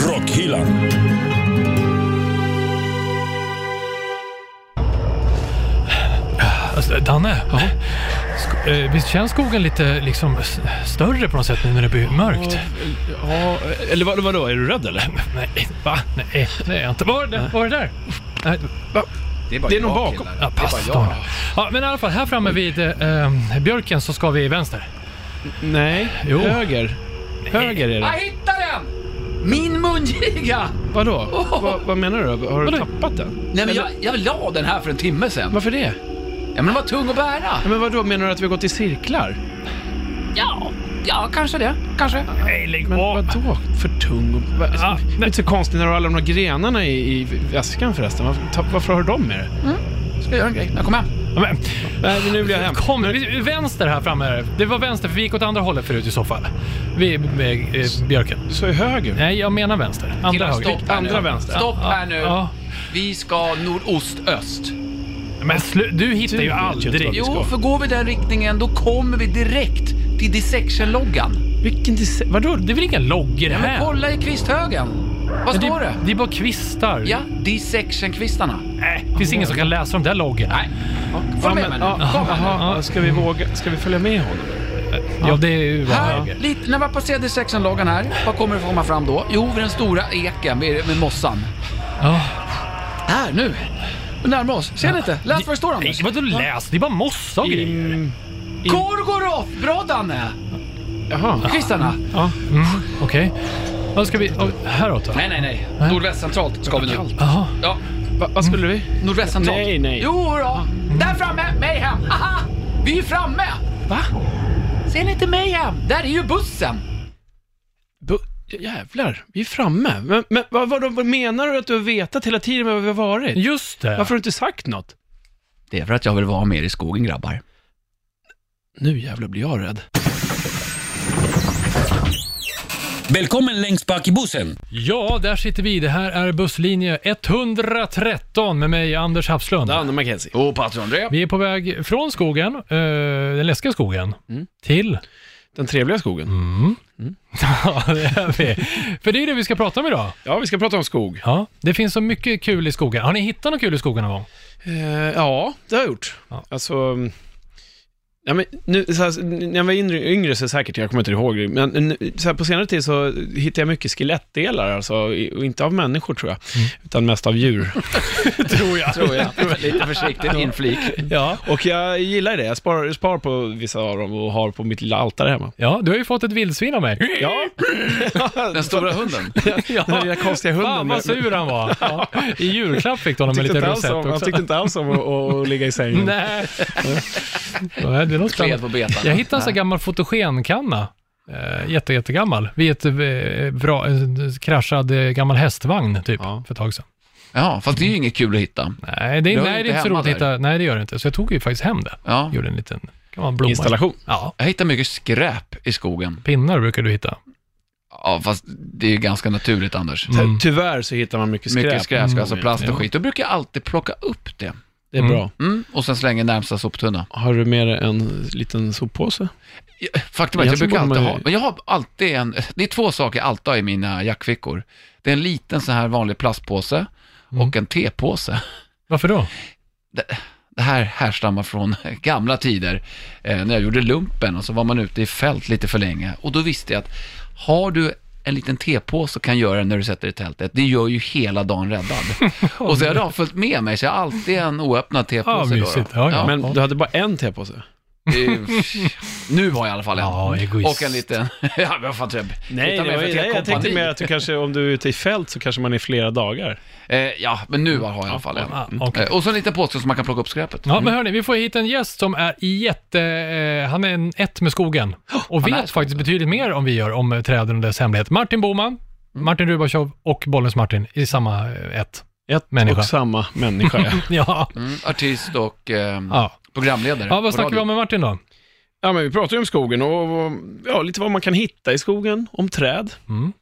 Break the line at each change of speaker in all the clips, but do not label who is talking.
bilen.
Alltså, Danne, sk- eh, visst känns skogen lite liksom s- större på något sätt nu när det blir mörkt?
Ja, eller vad, vadå, är du rädd eller?
Nej, va? Nej, det är jag inte. Vad var det, där? Vad var det där? Nej, va?
Det är, bara
Det är någon
jag,
bakom.
killar.
Ja, pass
det är bara
Danne. Ja, men i alla fall, här framme vid eh, eh, björken så ska vi vänster.
Nej,
Jo.
höger. Höger är
Jag
det.
hittade den! Min mungiga!
Vadå? Va, vad menar du? Har du
Vadå?
tappat den?
Nej men jag, jag la den här för en timme sedan.
Varför det?
Ja men den var tung att bära.
Ja, men vadå, menar du att vi har gått i cirklar?
Ja, ja kanske det. Kanske.
Nej, lägg
Men vadå för tung? och- Va,
Ja,
det är inte så konstigt när du har alla de där grenarna i, i väskan förresten. Varför, ta, varför har du dem med dig?
Mm. Ska jag göra en grej när jag kommer hem?
Men,
Nej, nu blir jag hem.
kom, vi- vänster här framme. är det. Det var vänster, för vi gick åt andra hållet förut i så fall. Vid eh, eh, björken.
Du sa ju höger.
Nej, jag menar vänster. Andra
Killar,
höger.
stopp här
andra
nu.
vänster.
Stopp här nu.
Ja.
Vi ska nordostöst.
Men slu- du hittar
Du
ju
vet ju inte vad
aldrig.
vi
Jo, för går vi den riktningen då kommer vi direkt till dissection-loggan.
Vilken dis- Vadå?
Det är väl inga loggor
Ja, men
här?
kolla i kvisthögen. Vad
Men
står det?
Det är bara kvistar.
Ja, dissection-kvistarna.
Nej, det finns ingen som kan läsa de där loggorna.
Nej. Följ med mig nu.
ja,
Kom här nu.
aha, ja, ska, vi våga, ska vi följa med honom?
Ja, det är ju bara
Här,
höger.
lite, när man passerar dissection-loggan här, vad kommer det komma fram då? Jo, vid den stora eken vid, med mossan.
Ja.
Här, nu. Vi närmar oss. Ser ni inte? Läs vad det står
Nej,
Anders.
vadå läs? Det är bara mossa och grejer.
Mm,
Gorgoroth! Bra Danne!
Jaha.
Kvistarna.
Ja.
Mm, Okej. Vad ska vi... oh, Häråt då?
Nej, nej, nej. Nordvästcentralt ska vi nu.
Jaha.
Ja,
Va, vad skulle vi?
nordvästcentralt.
Nej, nej.
Jo, då. Där framme, Mayhem. Haha! Vi är framme!
Va?
Ser ni inte Mayhem? Där är ju bussen.
Bu- jävlar, vi är framme. Men, men vad, vadå, vad menar du att du har vetat hela tiden med vad vi har varit?
Just det.
Varför har du inte sagt något?
Det är för att jag vill vara med er i skogen, grabbar.
Nu jävlar blir jag rädd.
Välkommen längst bak i bussen.
Ja, där sitter vi. Det här är busslinje 113 med mig, Anders Hafslund.
Danne McKenzie.
Och Patrik André.
Vi är på väg från skogen, eh, den läskiga skogen,
Mm.
till...
Den trevliga skogen.
Ja, det är vi. För det är det vi ska prata om idag.
Ja, vi ska prata om skog.
Ja, det finns så mycket kul i skogen. Har ni hittat något kul i skogen någon gång?
Eh, ja, det har jag gjort.
Ja.
Alltså, mm, ja, men nu, så här, när jag var yngre, yngre så säkert, jag kommer inte ihåg det, men nu- så här, på senare tid så hittade jag mycket skelettdelar, alltså, i- och inte av människor tror jag, utan mest av djur.
Mm. Tror jag. Tror jag. Lite försiktigt inflik.
Ja.
Och jag gillar det, jag sparar, sparar på vissa av dem och har på mitt lilla altare hemma.
Ja, du har ju fått ett vildsvin av mig.
Ja,
Den stora hunden.
Ja.
den lilla konstiga hunden.
Fan vad sur han var. Ja. I julklapp fick du honom en
Tyckte
liten
inte alls
rosett
om,
också.
jag tyckte inte alls om att, att ligga i sängen.
Nej. Ja, det är något
Kled
spännande.
på betan.
Jag hittade en sån här gammal fotogenkanna. Eh, jätte, jättegammal. Vid ett eh, vra- eh, kraschad eh, gammal hästvagn typ,
Ja.
för ett tag sedan.
Ja, fast det är ju inget kul att hitta.
Nej, det, är-
Du har
nej, det
inte
är inte så
hemma
roligt att
där.
hitta. Nej, det gör det inte. Så jag tog ju faktiskt hem det.
Ja.
Gjorde en liten kan man blomma.
Installation.
Ja,
Jag hittar mycket skräp i skogen.
pinnar brukar du hitta.
Ja, fast det är ju ganska naturligt Anders.
Mm.
Tyvärr så hittar man mycket skräp.
Mycket skräp,
i
alltså
skogen.
plast
Ja,
och skit. Då brukar jag alltid plocka upp det.
Det är
Mm.
bra.
Mm, och sen slänga i närmsta soptunna.
Har du med dig en liten soppåse?
Ja, Faktum är att
Jag
jag
tror
brukar
bara
alltid
man-
ha, men jag har alltid en, det är två saker jag alltid har i mina jackfickor. Det är en liten sån här vanlig plastpåse och en tepåse.
Varför då?
Det här härstammar från gamla tider eh, när jag gjorde lumpen och så var man ute i fält lite för länge och då visste jag att har du en liten tepåse och kan göra den när du sätter i tältet, det gör ju hela dagen räddad. och så har den följt med mig så jag har alltid en oöppnad
Ja,
tepåse. då, då.
Ah, mysigt. Ja, ja.
Ja.
Men du hade bara en tepåse?
Eh, nu har jag i alla fall en.
Ja, egoist.
Och en liten... ja, men fan, tror jag.
Nej,
Utan
det
mig
var,
för
nej
ett helt
jag tänkte
kompani.
mer att du kanske, om du är ute i fält så kanske man är flera dagar.
Eh, ja, men nu har jag i alla fall en.
ah,
Ja, okej.
Eh, och så en liten påse som man kan plocka upp skräpet.
Ja, men hörni, vi får hit en gäst som är jätte... Eh, han är en ett med skogen och
han är
vet faktiskt betydligt mer om vi gör om eh, träden och dess hemlighet. Martin Boman,
Mm.
Martin Rubashov och Bollens Martin i samma eh, ett.
Ett
Människa.
och samma människa. ja.
Ja,
Mm, artist och ehm,
ja.
programledare.
ja
på
vad snackar vi
radio.
om med Martin då?
ja, men vi pratar ju om skogen och, och ja, lite vad man kan hitta i skogen, om träd.
Mm.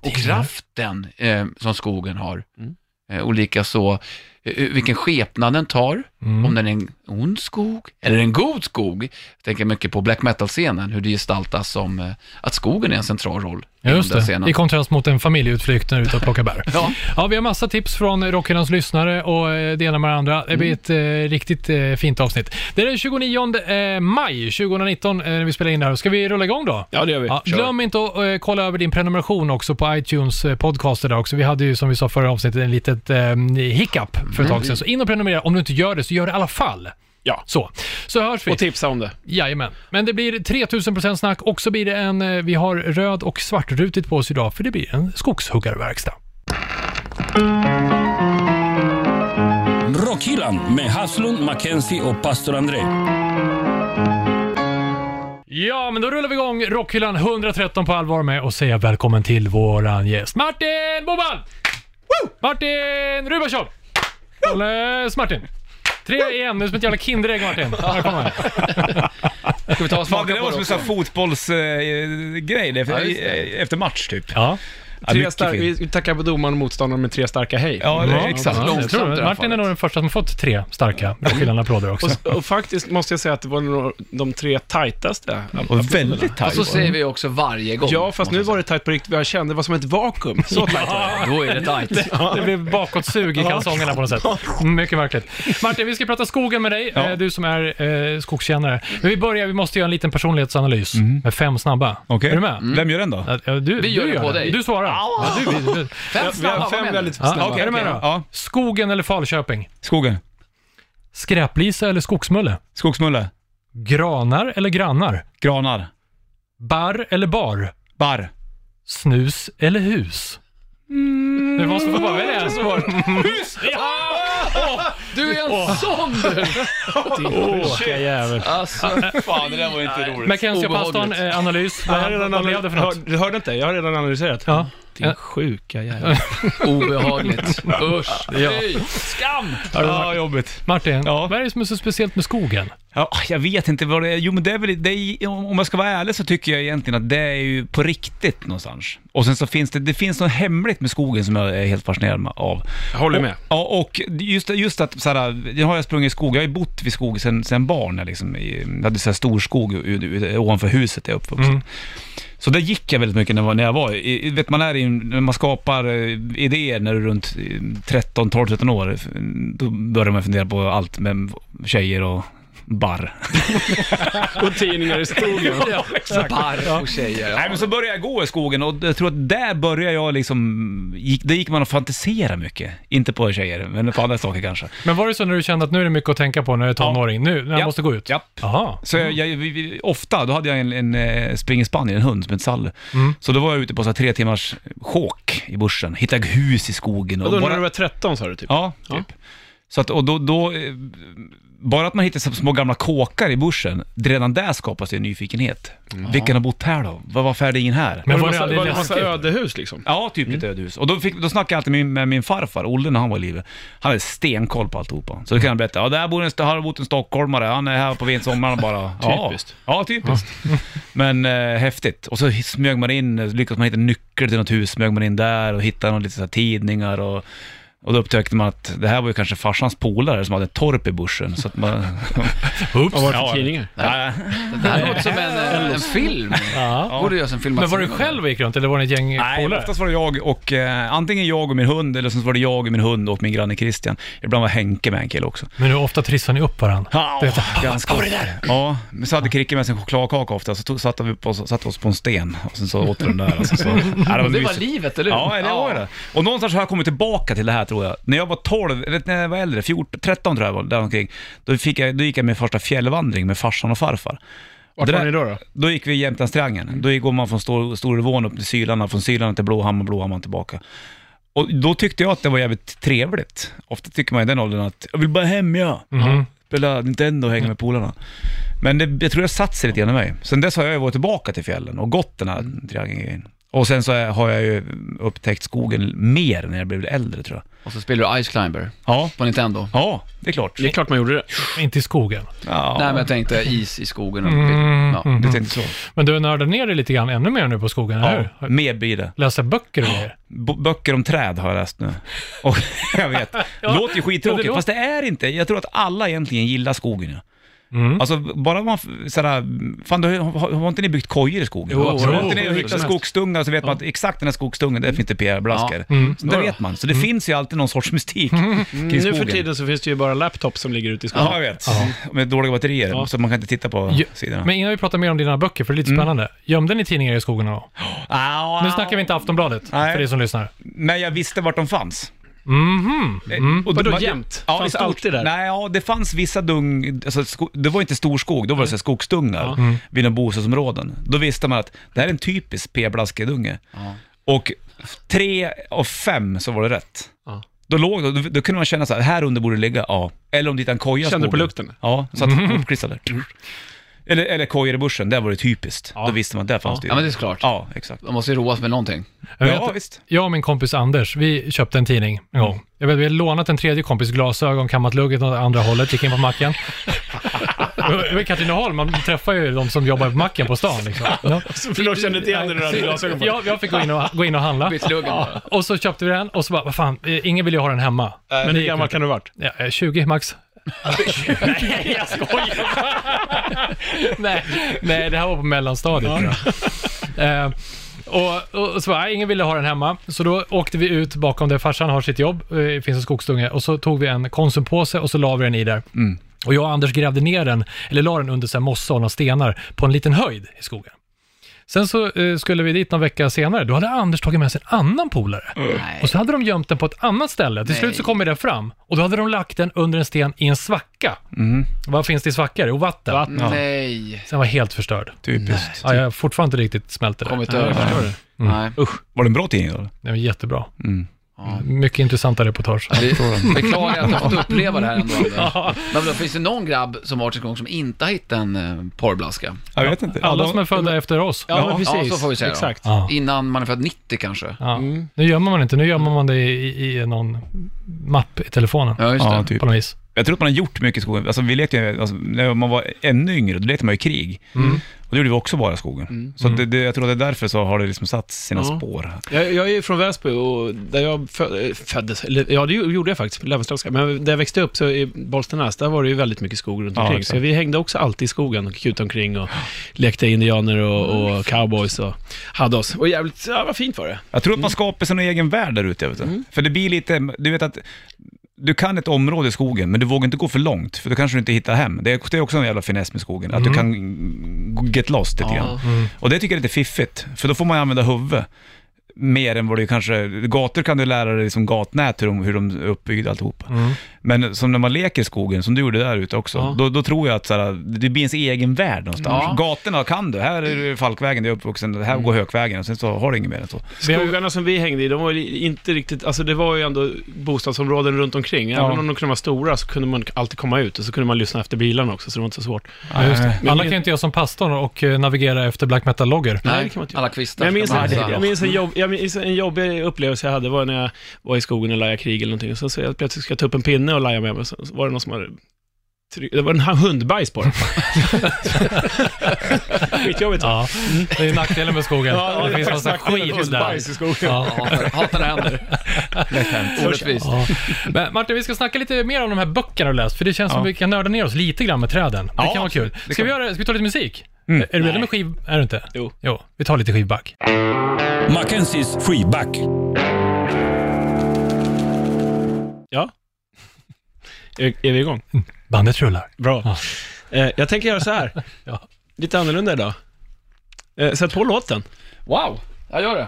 Och kraften eh, som skogen har.
Mm.
Eh, och likaså eh, vilken skepnad den tar,
Mm.
om den är en ond skog eller en god skog. Jag tänker mycket på black metal-scenen, hur det gestaltas som eh, att skogen är en central roll
Ja,
inom
just
den
det.
scenen.
I kontrast mot en familjeutflykt när du är ute och plockar bär.
Ja.
Ja, vi har massa tips från Rockhyllans lyssnare och eh, det ena med det andra. Det
Mm.
blir ett eh, riktigt eh, fint avsnitt. Det är den 29 eh, maj 2019 eh, när vi spelar in det här. Ska vi rulla igång då?
Ja, det gör vi.
Ja,
Kör.
glöm inte att eh, kolla över din prenumeration också på iTunes eh, podcaster där också. Vi hade ju som vi sa förra avsnittet en litet eh, hiccup för ett
Mm.
tag sedan. Så in och prenumerera. Om du inte gör det så gör det i alla fall.
Ja.
Så, så hörs vi.
Och tipsa om det.
Jajamän. Men det blir 3000% snack och så blir det en, eh, vi har röd och svartrutigt på oss idag för det blir en skogshuggarverkstad.
Rockhyllan med Haslund, Mackenzie och pastor André.
Ja, men då rullar vi igång Rockhyllan 113 på allvar med att säga välkommen till våran gäst Martin Boban! Martin Rubashov! Olle Martin! Tre i en, nu som ett jävla Kinderägg Martin. Välkommen.
Ska vi ta och
Fan,
smaka
det där
på
var
det
som en
också?
sån här fotbollsgrej, det,
Ja, just det.
efter match typ. Ja,
Ja,
Tre
mycket
stark,
fint.
vi tackar på domaren och motståndaren med tre starka hej.
Ja, det-
Ja,
exakt.
ja, jag
Långsamt i
tror
det
det.
här
Martin är nog
fallet.
den första som fått tre starka Rockhyllan-applåder också.
Och, och faktiskt måste jag säga att det var nog de tre tajtaste.
och väldigt
Och
tajt.
så säger vi också varje gång.
Ja, fast nu var det tajt på riktigt. Mm, Jag kände det var som ett vakuum. Så tajt var det.
Då är det tajt.
Det blev bakåtsug i kalsongerna på något sätt. Mycket verkligt. Martin, vi ska prata skogen med dig, eh, du som är eh, skogskännare. Men vi börjar, vi måste göra en liten personlighetsanalys
Mhm.
med fem snabba.
Okej.
Är du
Mm.
med?
Vem gör den då?
Ja, Du,
Vi gör
du
det på dig.
Du svarar. Ja, du, vi, vi.
Fem
Vi
snabba,
har
vad
fem
menar
väldigt
Ja,
snabba.
är du med då?
Ja,
Skogen eller Falköping?
skogen.
Skräplisa eller skogsmulle?
Skogsmulle.
Granar eller grannar?
Granar.
Barr eller bar?
Barr.
Snus eller hus? Du måste få bara välja en svar.
Du är en sån du!
Vilka jävel.
Alltså,
Fan, det där var inte roligt.
Mackenzie och
Obehagligt.
pastorn, eh, analys.
Jag har
Vad-
redan
vad blev det för något?
analyserat. Du hörde inte? Jag har redan analyserat.
Ja.
Din sjuka jävel.
Obehagligt. Usch. Fy. Skam!
Ja, jobbigt.
Martin,
Ja.
vad är det som är så speciellt med skogen?
Ja, jag vet inte vad det är. Jo, men det är väl, det är, om jag ska vara ärlig så tycker jag egentligen att det är ju på riktigt någonstans. Och sen så finns det, det finns något hemligt med skogen som jag är helt fascinerad av.
Jag håller med.
Ja, och just, just att så här, nu har jag sprungit i skog, jag har ju bott vid skog sedan sen barn. Jag, liksom, i, jag hade så här stor skog u- u- ovanför huset där jag är uppvuxen.
Mm.
Så där gick jag väldigt mycket när jag var, när jag var i, i- vet man är i, en- när man skapar eh, idéer när du är runt eh, 13, 12, 13 år, f- då börjar man fundera på allt med tjejer och barr.
Och tidningar i skogen.
Ja,
Barr och tjejer.
Nej, men så började jag gå i skogen och jag tror att där började jag liksom, gick, där gick man och fantisera mycket. Inte på tjejer, men på andra saker kanske.
Men var det så när du kände att nu är det mycket att tänka på när du är tonåring? Nu, när jag
Ja.
måste gå ut?
Ja.
Jaha.
Så jag, jag, vi, vi, ofta, då hade jag en, en eh, spring i Spanien, en hund som hette Sally.
Mm.
Så då var jag ute på så här tre timmars chok i bussen, hittade hus i skogen.
Och
Och
då när du
bara,
var 13 sa du typ?
ja, typ. Så att, och då, då, eh, bara att man hittar så små gamla kåkar i bussen, det redan där skapas det en nyfikenhet.
Mm.
Vilken har bott här då? Var- Varför är det ingen här?
Men
Var
var det
det massa, var
aldrig
det massa
läskigt?
ödehus liksom?
Ja, typ ett ödehus. Och då, fick, då snackade jag alltid med, min- med min farfar, Olle, när han var i livet. Han hade stenkoll på alltihopa. Så då kan han berätta, ja där bor en, har det bott en stockholmare, han är här på vinsommaren bara. Ja.
Typiskt.
Ja, typiskt. Men eh, häftigt. Och så smög man in, eh, lyckades man hitta nyckel till något hus, smög man in där och hittade några lite så här tidningar och och då upptäckte man att det här var ju kanske farsans polare som hade ett torp i bussen. Så att man...
Oops.
Vad var det för
Ja.
tidningar?
Nej.
Det här låter som en, eh, en film.
Ja.
Borde göras en film.
Men var du själv och gick runt eller var det ett gäng
Nej,
polare?
oftast var det jag och, eh, antingen jag och min hund, eller så var det jag och min hund och min granne Christian. Ibland var Henke med en kille också.
Men hur ofta trissar ni upp varandra?
Ja,
Du vet,
ganska ofta. Ja, men så hade Kricke med sig en chokladkaka ofta, så tog, satte vi på, satte oss på en sten och sen så åt vi den där. Och sen så, ja, det var
Det var
mysigt.
livet, eller hur?
Ja, det var det. Och någonstans har jag kommit tillbaka till det här tror jag. När jag var 12, eller när jag var äldre, 14, 13 tror jag var, där omkring, då, fick jag, då gick jag min första fjällvandring med farsan och farfar.
Vart
Det
var
där-
ni då? då?
Då gick vi i Jämtlandstriangeln. Då går man från Stor- Storvån upp till Sylarna, från Sylarna till Blåhammar, Blåhammar tillbaka. Och då tyckte jag att det var jävligt trevligt. Ofta tycker man i den åldern att jag vill bara hem jag.
Mhm.
Spela Nintendo och hänga med polarna. Mm. Men det, jag tror jag satt sig lite grann i mig. Sen dess har jag ju varit tillbaka till fjällen och gått den här triangeln. Och sen så är- har jag ju upptäckt skogen mer när jag blev äldre tror jag.
Och så spelar du Ice Climber
Ja,
på Nintendo.
ja det är klart.
Det är klart man gjorde det.
Inte i skogen.
Ja,
Nej, men jag tänkte is i skogen. Och
Mm,
ja.
mm.
Du tänkte så?
Men du nördar ner dig lite grann ännu mer nu på skogen, eller hur?
Ja, mer blir det.
Läser böcker och grejer.
B- böcker om träd har jag läst nu. Och jag vet,
Ja,
låter ju
men det
skittråkigt,
låter-
fast det är inte. Jag tror att alla egentligen gillar skogen. Ja.
Mm.
Alltså bara man, f- sådär, fan då, har, har inte ni byggt kojor i skogen?
Jo,
har
absolut.
inte ni
Jo, hur
hittat
som helst.
skogsdungar så vet man att exakt den här skogsdungen, där finns det PR-blaskor.
Ja. Mm.
Så det vet man. Så det finns ju alltid någon sorts mystik kring
Nu
skogen.
för tiden så finns det ju bara laptops som ligger ute i skogen.
Ja, jag vet. Med dåliga batterier,
Ja.
så man kan inte titta på
Jo,
sidorna.
Men innan vi pratar mer om dina böcker, för det är
Mm.
lite spännande. Gömde ni tidningar i skogen då?
Au, au.
Nu snackar vi inte Aftonbladet,
Nej.
för er som lyssnar.
Men jag visste vart de fanns.
Mhm.
Och
Vadå,
man-
jämt?
Ja,
Fanns
i
det
stort-
alltid där?
Nej, ja, det fanns vissa dung... Alltså, sko, det var inte stor skog, då var det så här skogsdungar vid några bostadsområden. Då visste man att det här är en typisk p-blaskedunge.
Ja.
Och tre av fem så var det rätt.
Ja.
Då, låg, då, då kunde man känna så här, här under borde det ligga, ja. Eller om det hittade en koja i
Kände på
skogen.
lukten?
Ja, så att mm. uppklistrade. Eller, eller kojor i bussen, där var det typiskt. Då visste man, där fanns det ju.
ja, men det är såklart.
Ja, exakt.
De måste ju roas med någonting.
Jag vet-
Ja, visst.
Jag och min kompis Anders, vi köpte en tidning en gång. Jag vet, vi hade lånat en tredje kompis glasögon, kammat lugget åt andra hållet, gick in på macken. Det var i Katrineholm, man träffar ju de som jobbar på macken på stan liksom. Ja.
För de kände inte igen dig när du hade glasögon på dig.
Jag, jag fick gå in, och, gå in och handla.
Byt luggen bara.
Och så köpte vi den och så bara, vad fan, eh, ingen vill ju ha den hemma.
Men hur gammal kan du ha varit?
Ja, eh, 20 max. nej, jag skojar! nej, nej, det här var på mellanstadiet. tror jag. Eh, och, och, och så bara, nej, ingen ville ha den hemma, så då åkte vi ut bakom där farsan har sitt jobb, eh, det finns en skogsdunge, och så tog vi en konsumpåse och så la vi den i där. Och jag och Anders grävde ner den, eller la den under så här mossa och några stenar, på en liten höjd i skogen. Sen så eh, skulle vi dit någon vecka senare, då hade Anders tagit med sig en annan polare.
Nej.
Och så hade de gömt den på ett annat ställe. Till
Nej.
slut så kommer den fram och då hade de lagt den under en sten i en svacka. Vad finns det i svackor? Jo, vatten.
Nej.
Sen var jag helt förstörd.
Typiskt.
Ja, jag har fortfarande inte riktigt smält det där.
Kommit över.
förstår
Nej.
Usch, var det en bra tidning då?
Det var jättebra.
Ja.
Mycket intressanta reportage.
Vi beklagar att du har fått uppleva det här ändå. Anders. Men då finns det någon grabb som varit en gång som inte har hittat en eh, porrblaska?
Jag vet inte.
Alla
Ja,
som är födda efter oss.
Ja, men
ja,
precis.
så får vi säga då.
Exakt.
Ja.
Innan man är född 90 kanske?
Ja. Nu gömmer man inte, nu gömmer man det i, i, i någon mapp i telefonen.
Ja, just
Ja,
det.
typ.
På något vis.
Jag tror att man har gjort mycket i skogen. Alltså, vi lekte ju, alltså, när man var ännu yngre, då lekte man ju krig. Och det gjorde vi också bara i skogen. Så att det, det, jag tror att det är därför så har det liksom satt sina
Ja.
spår.
Jag, jag är ju från Väsby och där jag fö- eh, föddes, eller ja det gjorde jag faktiskt, Löwenstranska, men där jag växte upp så i Bollstanäs, där var det ju väldigt mycket skog runt
Ja,
omkring.
exakt.
så vi hängde också alltid i skogen och gick ut omkring och lekte indianer och, och cowboys och hade oss. Och jävligt, ja vad fint var det.
Jag tror att man skapar sin egen värld där ute. jag Vet du. För det blir lite, du vet att du kan ett område i skogen, men du vågar inte gå för långt, för då kanske du inte hittar hem. Det är, det är också en jävla finess med skogen, att du kan mm, get lost lite grann. Och det tycker jag är lite fiffigt, för då får man ju använda huvudet. Mer än vad du kanske... Gator kan du lära dig som gatnät, hur de, hur de är uppbyggda alltihopa. Men som när man leker i skogen, som du gjorde där ute också,
Ja.
då, då tror jag att så här, det blir ens egen värld någonstans.
Ja.
Gatorna kan du, här är det Falkvägen, där jag är uppvuxen, här går Hökvägen, och sen så har du inget mer än så.
Vi har ju-
Skogarna som vi hängde i, de var ju inte riktigt, alltså det var ju ändå bostadsområden runt omkring. Även
Ja.
om de kunde vara stora så kunde man alltid komma ut och så kunde man lyssna efter bilarna också, så det var inte så svårt.
Ja, just det.
Men-
Alla kan ju inte göra som pastorn och eh, navigera efter black metal-loggor.
Nej, det kan man inte göra.
Alla kvistar
Men jag minns,
ska man
en,
det-
rensa.
jag, minns en jobb, jag minns en jobbig upplevelse jag hade var när jag var i skogen och lajade krig eller någonting. Och så, så jag plötsligt ska jag ta upp en pinne och laja med mig. Så så var det någon som hade... try- Det var en hundbajs på den. Skitjobbigt.
Ja, det är ju nackdelen med skogen. det finns massa skit där.
Hundbajs i skogen.
Ja.
Hatar- Hatar när det händer. Orättvist.
Ja. Men Martin, vi ska snacka lite mer om de här böckerna du läst, för det känns som
Ja.
vi kan nörda ner oss lite grann med träden. Det
Ja,
kan vara kul.
absolut. Det
Ska
kan
vi,
vi.
göra, ska vi ta lite musik?
Mm.
Är du redo med skiv... Är du inte?
Jo.
Jo, vi tar lite skivback.
Mackenzies freeback.
Ja. Är, är vi igång?
Bandet rullar.
Bra.
Ja.
Eh, jag tänker göra så här.
Ja.
Lite annorlunda idag. Eh, sätt på låten.
Wow, jag gör det.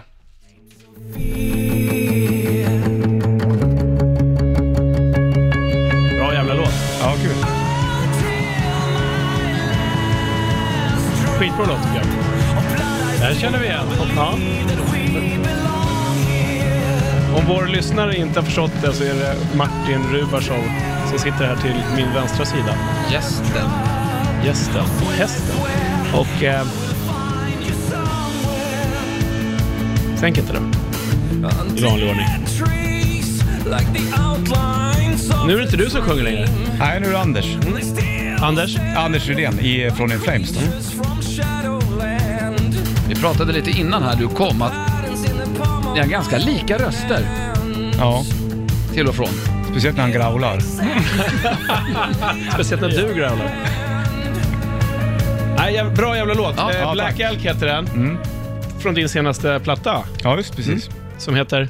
Bra jävla låt.
Ja, kul.
Skitbra låt tycker jag.
Det här känner vi igen.
Ja. Om vår lyssnare inte har förstått det så är det Martin Rubashov som sitter här till min vänstra sida.
Gästen.
Gästen. Hästen. Och eh, Sänk inte den. I vanlig ordning. Nu är det inte du som sjunger längre.
Nej, nu är det Anders.
Anders?
Anders Rydén i, från In Flames då.
Vi pratade lite innan här du kom att ni har ganska lika röster
Ja,
till och från.
speciellt när han growlar.
Speciellt när du growlar. Nej, jäv- bra jävla låt.
Ja,
eh,
ja,
Black
tack.
Elk heter den. Från din senaste platta,
Ja, just precis.
som heter?
Mm.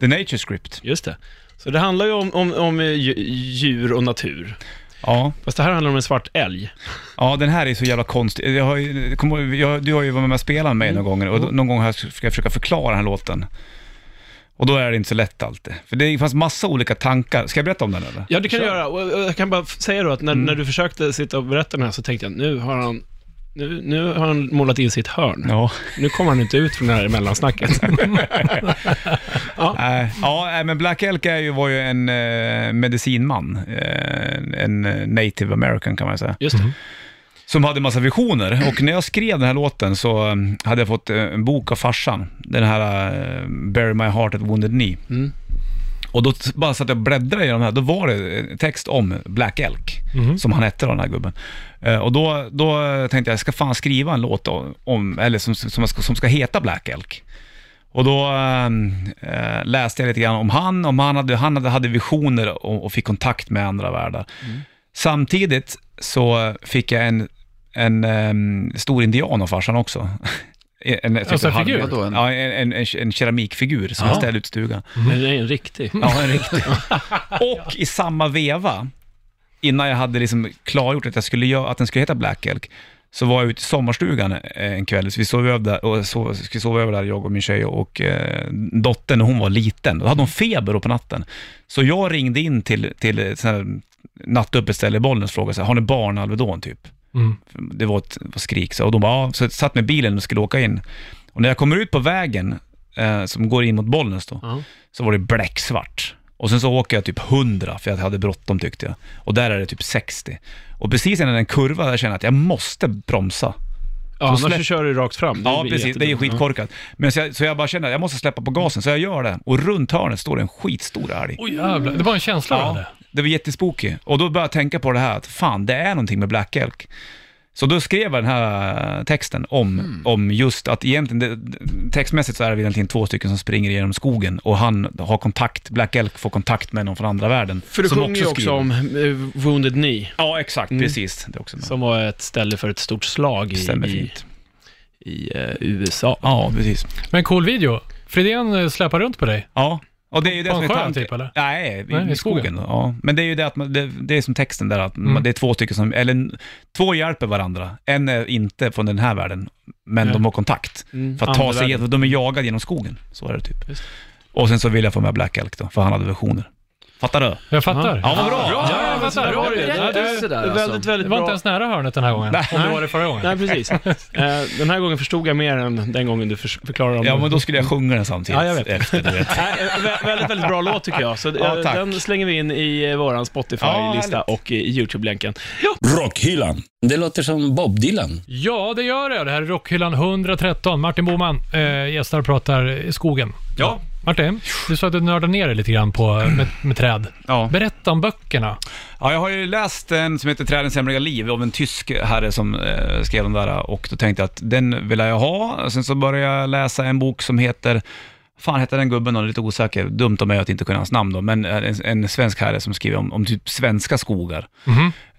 The Nature Script.
Just det. Så det handlar ju om, om, om eh, dju- djur och natur.
Ja.
Fast det här handlar om en svart älg.
ja, den här är så jävla konstig. Jag har, ju- kom, ihåg, jag, du har ju varit med och spelat med mig någon gång och då- någon gång har jag, ska jag försöka förklara den här låten. Och då är det inte så lätt alltid. För det fanns massa olika tankar. Ska jag berätta om den eller?
Ja, det kan jag göra. Och och jag kan bara f- säga då att när, när du försökte sitta och berätta den här så tänkte jag, nu har han, nu, nu har han målat in sitt hörn.
Ja.
Nu kommer han inte ut från det här mellansnacket.
Nej, ja, nej, men Black Elk är ju, var ju en eh, medicinman, eh, en eh, native american kan man säga,
Just det.
som hade massa visioner. Och när jag skrev den här låten så eh, hade jag fått eh, en bok av farsan, den här eh, Bury My Heart at Wounded Knee.
Mm.
Och då t- bara satt jag och bläddrade i de här, då var det eh, text om Black Elk,
Mhm.
som han hette då, den här gubben. Eh, och då, då tänkte jag, jag ska fan skriva en låt om- om, eller som, som, ska, som ska heta Black Elk. Och då ehm, eh, läste jag lite grann om han, om han hade, han hade, hade visioner och, och fick kontakt med andra världar.
Mm.
Samtidigt så fick jag en, en ehm, stor indian av farsan också. En, en,
Alltså, en
halv-
figur?
Vadå, en-
Ja, en, en, en keramikfigur som jag ställde ut i stugan.
Men det är en riktig.
Ja, en riktig. Och i samma veva, innan jag hade liksom klargjort att, jag skulle göra, att den skulle heta Black Elk, så var jag ute i sommarstugan eh, en kväll, så vi sov över där, och sov, skulle sova över där, jag och min tjej och eh, dottern, och hon var liten. Då hade hon feber då på natten. Så jag ringde in till, till ett sånt här nattöppet ställe i Bollnäs och frågade så här, har ni barn Alvedon typ?
Mm.
Det var ett var skrik, så, och de bara, ja. så jag satt med bilen och skulle åka in. Och när jag kommer ut på vägen, eh, som går in mot Bollnäs då,
Ja.
så var det bläcksvart. Och sen så åker jag typ 100 för jag hade bråttom tyckte jag. Och där är det typ 60. Och precis innan en kurva där känner jag att jag måste bromsa.
Ja, annars
släpp-
så kör du rakt fram. Det
Ja,
blir
precis. Det är ju
jättedumt.
skitkorkat. Men så jag, så jag bara känner att jag måste släppa på gasen, så jag gör det. Och runt hörnet står det en skitstor älg.
Oj jävlar, det var en känsla jag hade.
Det var jättespooky. Och då började jag tänka på det här att fan, det är någonting med Black Elk. Så då skrev jag den här texten om,
Hmm.
om just att egentligen, det, textmässigt så är det egentligen två stycken som springer genom skogen och han har kontakt, Black Elk får kontakt med någon från andra världen.
För du
som
sjunger ju också
skriver.
om Mm. eh, Wounded Knee,
Ja, exakt, precis. Det är också med.
som var ett ställe för ett stort slag i,
Stämmer
i,
fint.
i eh, USA.
Ja, precis.
Men cool video. Fredén eh, släpar runt på dig.
Ja, och det är ju det
På
som är
en sjö
tanken.
typ, eller?
Nej, i,
Nej,
i skogen. då. Ja. Men det är ju det att man, det, det är som texten där, att man-
Mm.
det är två stycken som, eller n- två hjälper varandra. En är inte från den här världen, men de har kontakt
Mm.
för att ta sig
Andevärlden.
igenom, de är jagade genom skogen. Så är det typ.
Just.
Och sen så vill jag få med Black Elk då, för han hade versioner. Fattar du?
Jag fattar.
Ja, vad bra!
Ja, jag
men
fattar.
bra ju.
Det-
Det-
Rättelse där,
det är Väldigt,
alltså.
Det
väldigt
var
bra.
inte ens nära hörnet den här gången, om det var det förra gången.
Nej, precis. Eh, Den här gången förstod jag mer än den gången du förs- förklarade om
Ja, men då skulle jag sjunga den samtidigt.
Ja, jag vet.
Efter, du vet.
Nej, eh, vä- väldigt, väldigt bra låt tycker jag. Så eh,
Ja, tack.
den slänger vi in i eh, våran Spotify-lista
Ja,
och i YouTube-länken.
Rockhyllan.
Det låter som Bob Dylan.
Ja, det gör det. Det här är Rockhyllan 113. Martin Boman eh, gästar och pratar i skogen.
Ja.
Martin, du sa att du nördade ner dig lite grann på, eh, med, med träd.
Ja.
Berätta om böckerna.
Ja, jag har ju läst en som heter Trädens hemliga liv av en tysk herre som eh, skrev den där och då tänkte jag att den vill jag ha. Sen så började jag läsa en bok som heter, fan heter den gubben, jag är lite osäker, dumt av mig att inte kunna hans namn då, men eh, en, en svensk herre som skriver om, om typ svenska skogar.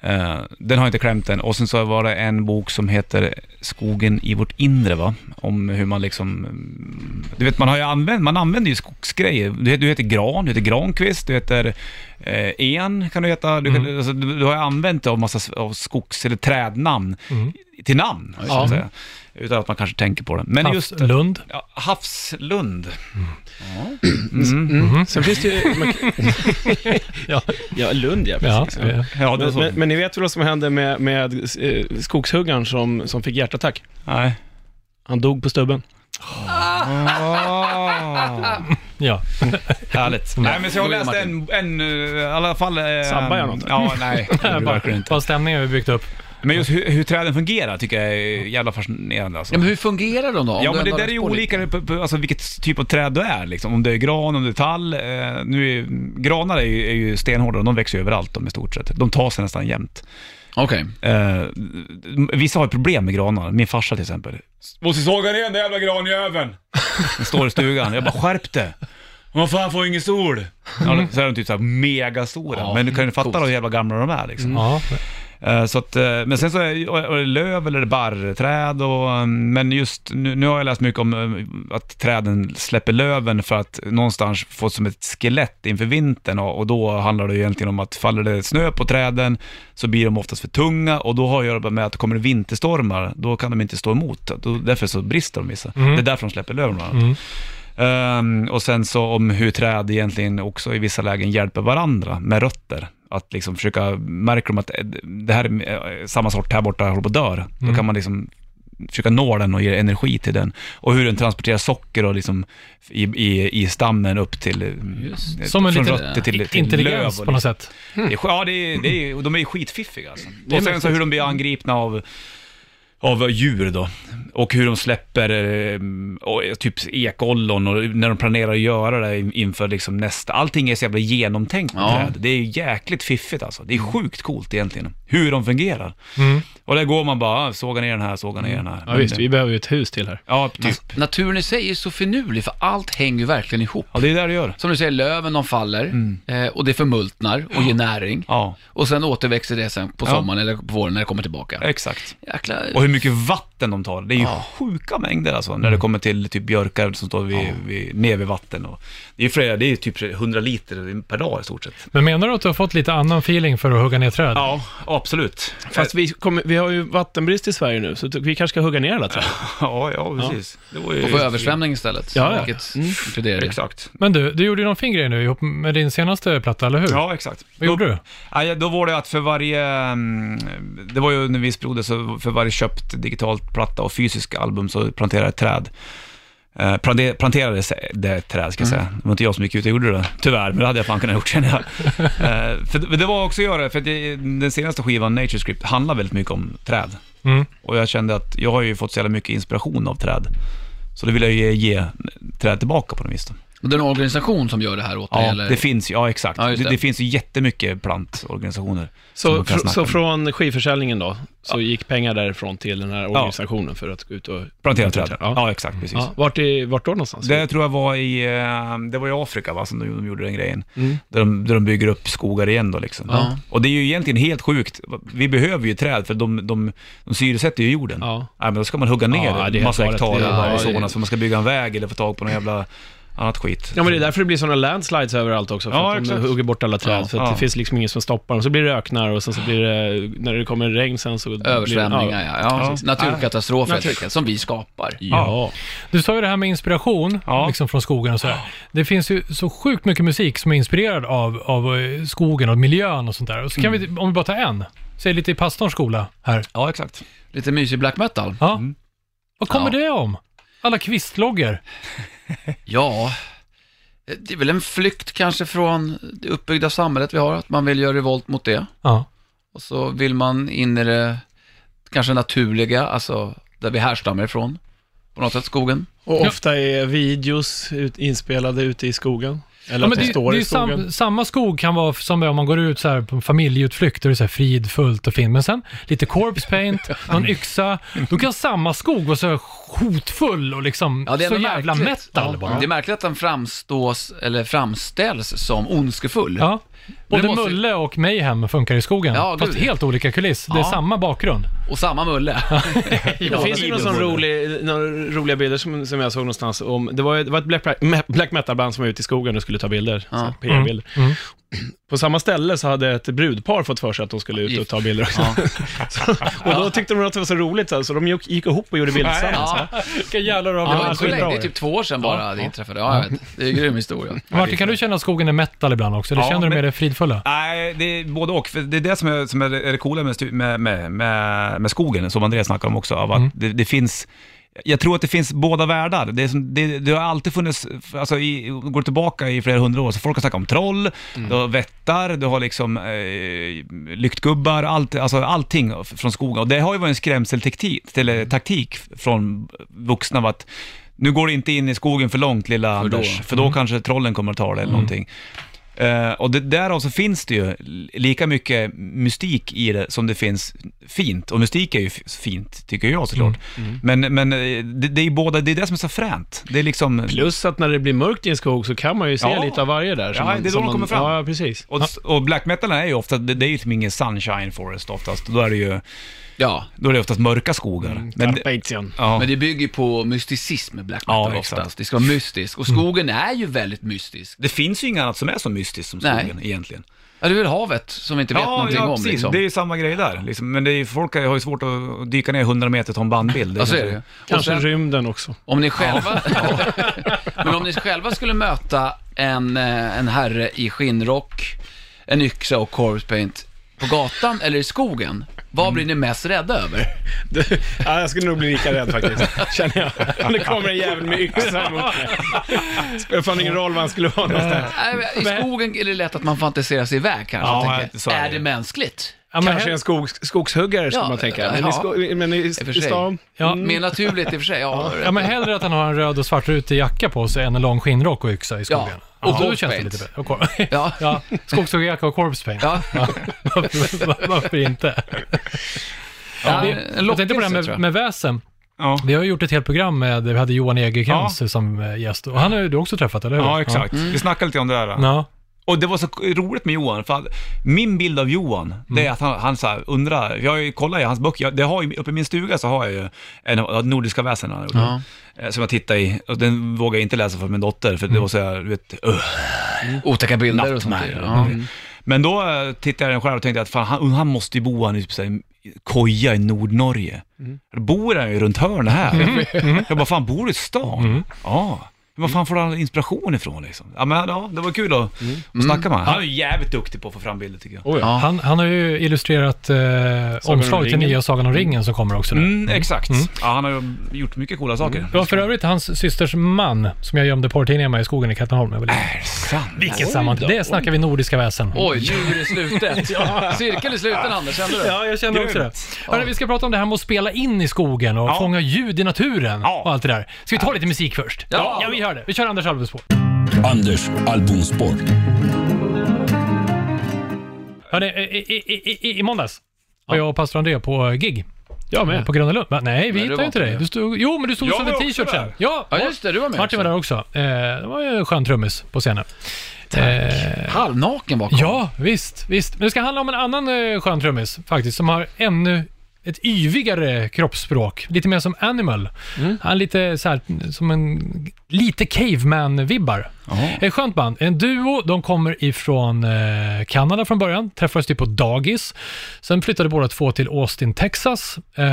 Eh, den har jag inte klämt än. Och sen så var det en bok som heter Skogen i vårt inre, va? Om hur man liksom... mm, Du vet, man, har ju använt, man använder ju skogsgrejer. Du heter, du heter Gran, du heter Granqvist, du heter eh, En, kan du heta. Du,
Mm.
kan, alltså, du, du har ju använt av massa s- av skogs eller trädnamn
Mm.
till namn, så att säga. Utan att man kanske tänker på det. Men just
Lund.
ja, Havslund.
Sen finns det ju... Man,
Ja.
ja, Lund ja,
Ja,
precis.
eh,
Ja, det är
Men,
så.
men, men ni vet väl vad som hände med, med eh, skogshuggaren som, som fick hjärtattack?
Nej.
Han dog på stubben.
ja.
Härligt. Nej, men så jag har
Då är det
läst en, en, eh, i alla fall... eh,
Sabbar jag något?
Ja, nej. det gjorde du verkligen inte. Mm.
Vad stämningen vi byggt upp.
Men just hur, hur träden fungerar tycker jag är jävla fascinerande alltså.
Ja, men hur fungerar de då? Om
Ja
du
men det
ändå
där
har
är ju
läst på lite?
olika, på- på- alltså vilket typ av träd du är liksom. Om det är gran, om det är tall. Eh, nu är, granar är ju, är ju stenhårda, de växer ju överallt de i stort sett. De tar sig nästan jämt.
Okej.
Eh, vissa har ju problem med granar, min farsa till exempel. Måste såga ner den där jävla granjäveln! Den står i stugan, jag bara skärp dig! Vad fan får ingen sol? Ja, så är de typ såhär megastora,
Ja,
men du kan ju fatta
coolt.
hur jävla gamla de är liksom.
Ja.
Eh, Så att, eh, men sen så är och- och det är löv eller det är barrträd och, eh, men just nu, nu har jag läst mycket om eh, att träden släpper löven för att någonstans få som ett skelett inför vintern och, och då handlar det ju egentligen om att faller det snö på träden så blir de oftast för tunga och då har det att göra med att kommer det vinterstormar då kan de inte stå emot, då, därför så brister de vissa. Det är därför de släpper löven bland annat. Ehm, och sen så om hur träd egentligen också i vissa lägen hjälper varandra med rötter. Att liksom försöka, märker de att eh, det här är eh, samma sort här borta, håller på att dör, då
Mm.
kan man liksom försöka nå den och ge energi till den. Och hur den transporterar socker och liksom i, i, i stammen upp till, eh, eh,
Som en
från
liten
rötter till, till löv.
Intelligens
och
på något
liksom.
sätt.
Det är, sj- ja, det är, det är, och de är ju skitfiffiga alltså.
är
Och sen så
mäktigt.
hur de blir angripna av, av djur då. Och hur de släpper eh, och, eh, typ ekollon och när de planerar att göra det in- inför liksom nästa. Allting är så jävla genomtänkt med
Ja.
träd. Det är ju jäkligt fiffigt alltså. Det är sjukt coolt egentligen, hur de fungerar. Och där går man bara, ah, såga ner den här, såga ner den här. eh,
Ja, visst, vi behöver ju ett hus till här.
Ja, typ.
Naturen i sig är så finurlig, för allt hänger ju verkligen ihop.
Ja, det är där det gör.
Som du säger, löven de faller eh, och det förmultnar och ger näring.
Mm. Ja,
Och sen återväxer det sen på
Ja.
sommaren eller på våren när det kommer tillbaka.
exakt.
Jäkla...
Och hur mycket vatten de tar. Det är ju sjuka mängder alltså, när det kommer till typ björkar som står vid, vid, ner vid vatten. Och, det är ju flera, det är ju typ 100 liter per dag i stort sett.
Men menar du att du har fått lite annan feeling för att hugga ner träd?
Ja, absolut.
Fast vi, kommer, vi har ju vattenbrist i Sverige nu, så t- vi kanske ska hugga ner alla träd.
Ja, ja precis. Det var ju...
Och få översvämning istället,
Ja, ja.
vilket inkluderar det.
Mm. Exakt.
Men du, du gjorde ju någon fin grej nu ihop med din senaste platta, eller hur?
Ja, exakt.
Mm. Vad gjorde du?
Ja, ja, då var det att för varje, mm, det var ju under en viss period, så för varje köpt digitalt platta och fysisk album så planterade jag ett träd. Eh, plante- planterades det ett träd, ska jag säga. Det var inte jag som gick ut och gjorde det, tyvärr, men det hade jag fan kunnat gjort känner jag. Eh, för, det- det var också att göra, för att det, den senaste skivan, Nature Script, handlar väldigt mycket om träd.
Mm.
Och jag kände att jag har ju fått så jävla mycket inspiration av träd. Så då vill jag ju ge träd tillbaka på något vis. Då.
Och det är en organisation som gör det här åt dig,
Ja,
eller?
det finns ju, ja exakt.
Ja, just
det.
det.
Det, finns ju jättemycket plantorganisationer. som
Så,
man kan
fr-
snacka
så
med.
från skivförsäljningen då, så gick pengar därifrån till den här organisationen för att gå ut och...
Plantera träd. Ja,
Ja.
exakt, precis.
Ja, vart, i, vart då någonstans?
Det tror jag var i, eh, det var i Afrika va, som de, de gjorde den grejen.
Mm.
Där, de, där de bygger upp skogar igen då liksom.
Ja.
Och det är ju egentligen helt sjukt. Vi behöver ju träd för de, de, de syresätter ju jorden.
Ja.
Nej, men då ska man hugga ner
Ja, det är
massa
helt
hektar
galet.
i
Ja, det
Arizona
är-
för man ska bygga en väg eller få tag på någon jävla annat skit.
Ja, men det är därför det blir sådana landslides överallt också, för
Ja,
att de
exakt.
hugger bort alla träd,
Ja,
för att
ja.
det finns liksom ingen som stoppar dem. Så blir det öknar och sen så blir det, när det kommer regn sen så... blir det-
Översvämningar,
ja.
ja. ja.
Ja.
Naturkatastrofer, helt enkelt, som vi skapar.
Ja.
Du sa ju det här med inspiration,
Ja.
liksom från skogen och sådär. Det finns ju så sjukt mycket musik som är inspirerad av, av eh, skogen och miljön och sånt där. Och så kan vi, om vi bara tar en, säg lite i pastorns skola här.
Mm. Ja, Mm. exakt.
Lite mysig black metal.
Ja. Vad kommer
Ja.
det om? Alla kvistloggor.
Ja, det är väl en flykt kanske från det uppbyggda samhället vi har, att man vill göra revolt mot det.
Ja.
Och så vill man in i det kanske naturliga, alltså där vi härstammar ifrån. På något sätt skogen.
Och ofta är videos ut, inspelade ute i skogen. Eller
Ja,
att
men
de
det,
står
det är
i
ju
skogen.
sam, samma skog kan vara som om man går ut så här på en familjeutflykt, då är det så här fridfullt och fint. Men sen lite corpse paint, någon yxa. Då kan samma skog vara så här hotfull och liksom
Ja, det är
så
ändå
jävla
märkligt.
metal
Ja.
bara.
Det är märkligt att den framstås, eller framställs som ondskefull.
Ja.
det
Både
måste-
Mulle och Mayhem funkar i skogen,
Ja,
fast
gud.
helt olika kuliss. Det är
Ja.
samma bakgrund.
Och samma mulle.
Det finns ju någon sån rolig, några roliga bilder som, som jag såg någonstans om, det var, ju- det var ett black, me- black metal-band som var ute i skogen och skulle ta bilder,
Ja.
så här PR-bilder. På samma ställe så hade ett brudpar fått för sig att de skulle ut och ta bilder också.
Ja.
och då tyckte de att det var så roligt, så, här, så de gick, gick ihop och gjorde bilder tillsammans.
ja.
Vilka jävlar av
Det var inte så länge, det är typ två år sedan bara det inträffade. Ja, jag vet. Det är en grym historia.
Martin, kan du känna att skogen är metal ibland också? Eller
Ja,
känner du
men-
med det fridfulla?
Nej, det är både och. För det är det som är, som
Mm.
är, är det coola med, stu- med, med, med, med skogen, som Andreas snackar om också, av att det, det finns jag tror att det finns båda världar. Det, är som, det, det har alltid funnits, alltså i, går tillbaka i flera hundra år, så folk har snackat om troll,
Mm.
du har vättar, du har liksom eh, lyktgubbar, allt, alltså allting f- från skogen. Och det har ju varit en skrämseltaktik, eller taktik från vuxna, av att nu går du inte in i skogen för långt lilla
För då. Mm.
Anders, för då kanske trollen kommer att ta dig eller någonting. Eh, och det, därav så finns det ju lika mycket mystik i det som det finns fint. Och mystik är ju f- fint, tycker jag såklart. Men, men eh, det, det är ju båda, det är det som är så fränt. Det är liksom...
Plus att när det blir mörkt i en skog så kan man ju se
Ja.
lite av varje där. som
Ja,
man-
det är då
som
de
man-
kommer fram.
Ja, precis.
Och, och black metal är ju ofta, det, det är ju liksom ingen sunshine forest oftast. Då är det ju,
Ja,
då är det oftast mörka skogar. men,
Carpathian.
ja.
men det bygger på mysticism med black metal
Ja, exakt.
oftast. Det ska vara mystiskt. Och skogen är ju väldigt mystisk.
det finns ju inget annat som är så mystiskt som
Nej.
skogen egentligen.
Ja, det är väl havet som vi inte vet någonting om liksom.
Det är ju samma grej där. Liksom. Men det är ju, folk har ju svårt att dyka ner 100 meter och ta en bandbild. Det
Ja, så är
kanske-
det ju. Och
Kanske
sen,
rymden också.
om ni själva... Men om ni själva skulle möta en, eh, en herre i skinnrock, en yxa och corpse paint på gatan eller i skogen, vad blir ni mest rädda över?
ja, jag skulle nog bli lika rädd faktiskt, känner jag. Om det kommer en jävel med yxa mot mig. Spelar fan ingen roll var han skulle vara någonstans.
Nej, Äh, men I skogen är det lätt att man fantiserar sig iväg kanske.
Ja,
jag tänker.
så är
är
det.
det mänskligt?
Ja, men
Kanske
hel-
en skog, skogshuggare, skulle
Ja,
man tänka. Men,
ja.
i, sko- men i, i
för sig.
stan...
ja,
Mer naturligt i och för sig. Ja,
Mm. ja, men hellre att han har en röd och svartrutig jacka på sig än en lång skinnrock och yxa i skogen.
och
då
corpse
känns det
paint.
lite bättre. Och cor-
Ja.
ja, skogshuggarjacka och corpse paint.
Ja.
Varför, varför inte?
Ja,
Vi-
en
jag tänkte på det
lockelse,
här
tror
med,
jag.
med väsen.
Ja.
Vi har ju gjort ett helt program med, vi hade Johan Egerkrans som eh, gäst. Och han har ju du också träffat, eller hur?
Ja, exakt.
Mm.
Vi snackade lite om det där.
Ja. Ja.
Och det var så roligt med Johan, för att min bild av Johan, det är att han, han så här undrar, jag har ju kollat i hans böcker, jag, det har ju, uppe i min stuga så har jag ju en av de nordiska väsen han gjorde, eh, som jag tittar i, och den vågar jag inte läsa för min dotter, för det var så här, du vet, öh.
Otäcka bilder och sånt där. Mm. Ja.
Men då eh, tittade jag den själv och tänkte att fan, han, han måste ju bo han, typ, så här, koja i Nordnorge. Då bor han ju runt hörnet här. Jag bara, fan bor du i stan? Ja. Men Var fan får han inspiration ifrån liksom? Ja, men, ja, det var kul att, att snacka med honom. Mm. Han är ju jävligt duktig på att få fram bilder tycker jag.
Oh, ja.
Han, han har ju illustrerat eh,
om
omslaget till
ringen.
nya Sagan om ringen som kommer också nu.
Mm, exakt. Ja, han har ju gjort mycket coola saker.
Det var Mm. för övrigt hans systers man som jag gömde porrtidningar med i skogen i Katrineholm. när jag var liten.
Är det sant?
Vilket sammanträde. Det snackar vi nordiska väsen.
Äh, Oj, nu är det slutet. Cirkeln är sluten, Anders. Kände du?
Ja, jag känner också det. Hörru, vi ska prata om det här med att spela in i skogen och
Ja.
fånga ljud i naturen
Ja.
och allt det där. Ska vi ta lite musik först?
Ja.
ja vi gör det. Vi kör Anders Alves på.
Anders albumspår.
Hörni, i, i, i, i, i måndags var jag och pastor André på eh, gig.
Jag
På
med.
Gröna Lund. Va? Nej, vi
du
hittade
var
ju inte
inte
dig.
med.
Du stod, jo, men du stod
Jag
som
var
en
också
t-shirt sen.
där.
Ja,
Ja, just det. Du var med
Martin var där också. Eh, det var ju en skön trummis på scenen. Eh,
Halvnaken bakom.
ja, visst, visst. Men det ska handla om en annan eh, skön trummis faktiskt, som har ännu ett yvigare kroppsspråk. Lite mer som Animal. Han är lite så här, som en, lite Caveman-vibbar. Ett skönt band. En duo. De kommer ifrån eh, Kanada från början. Träffades typ på dagis. Sen flyttade båda två till Austin, Texas. Eh,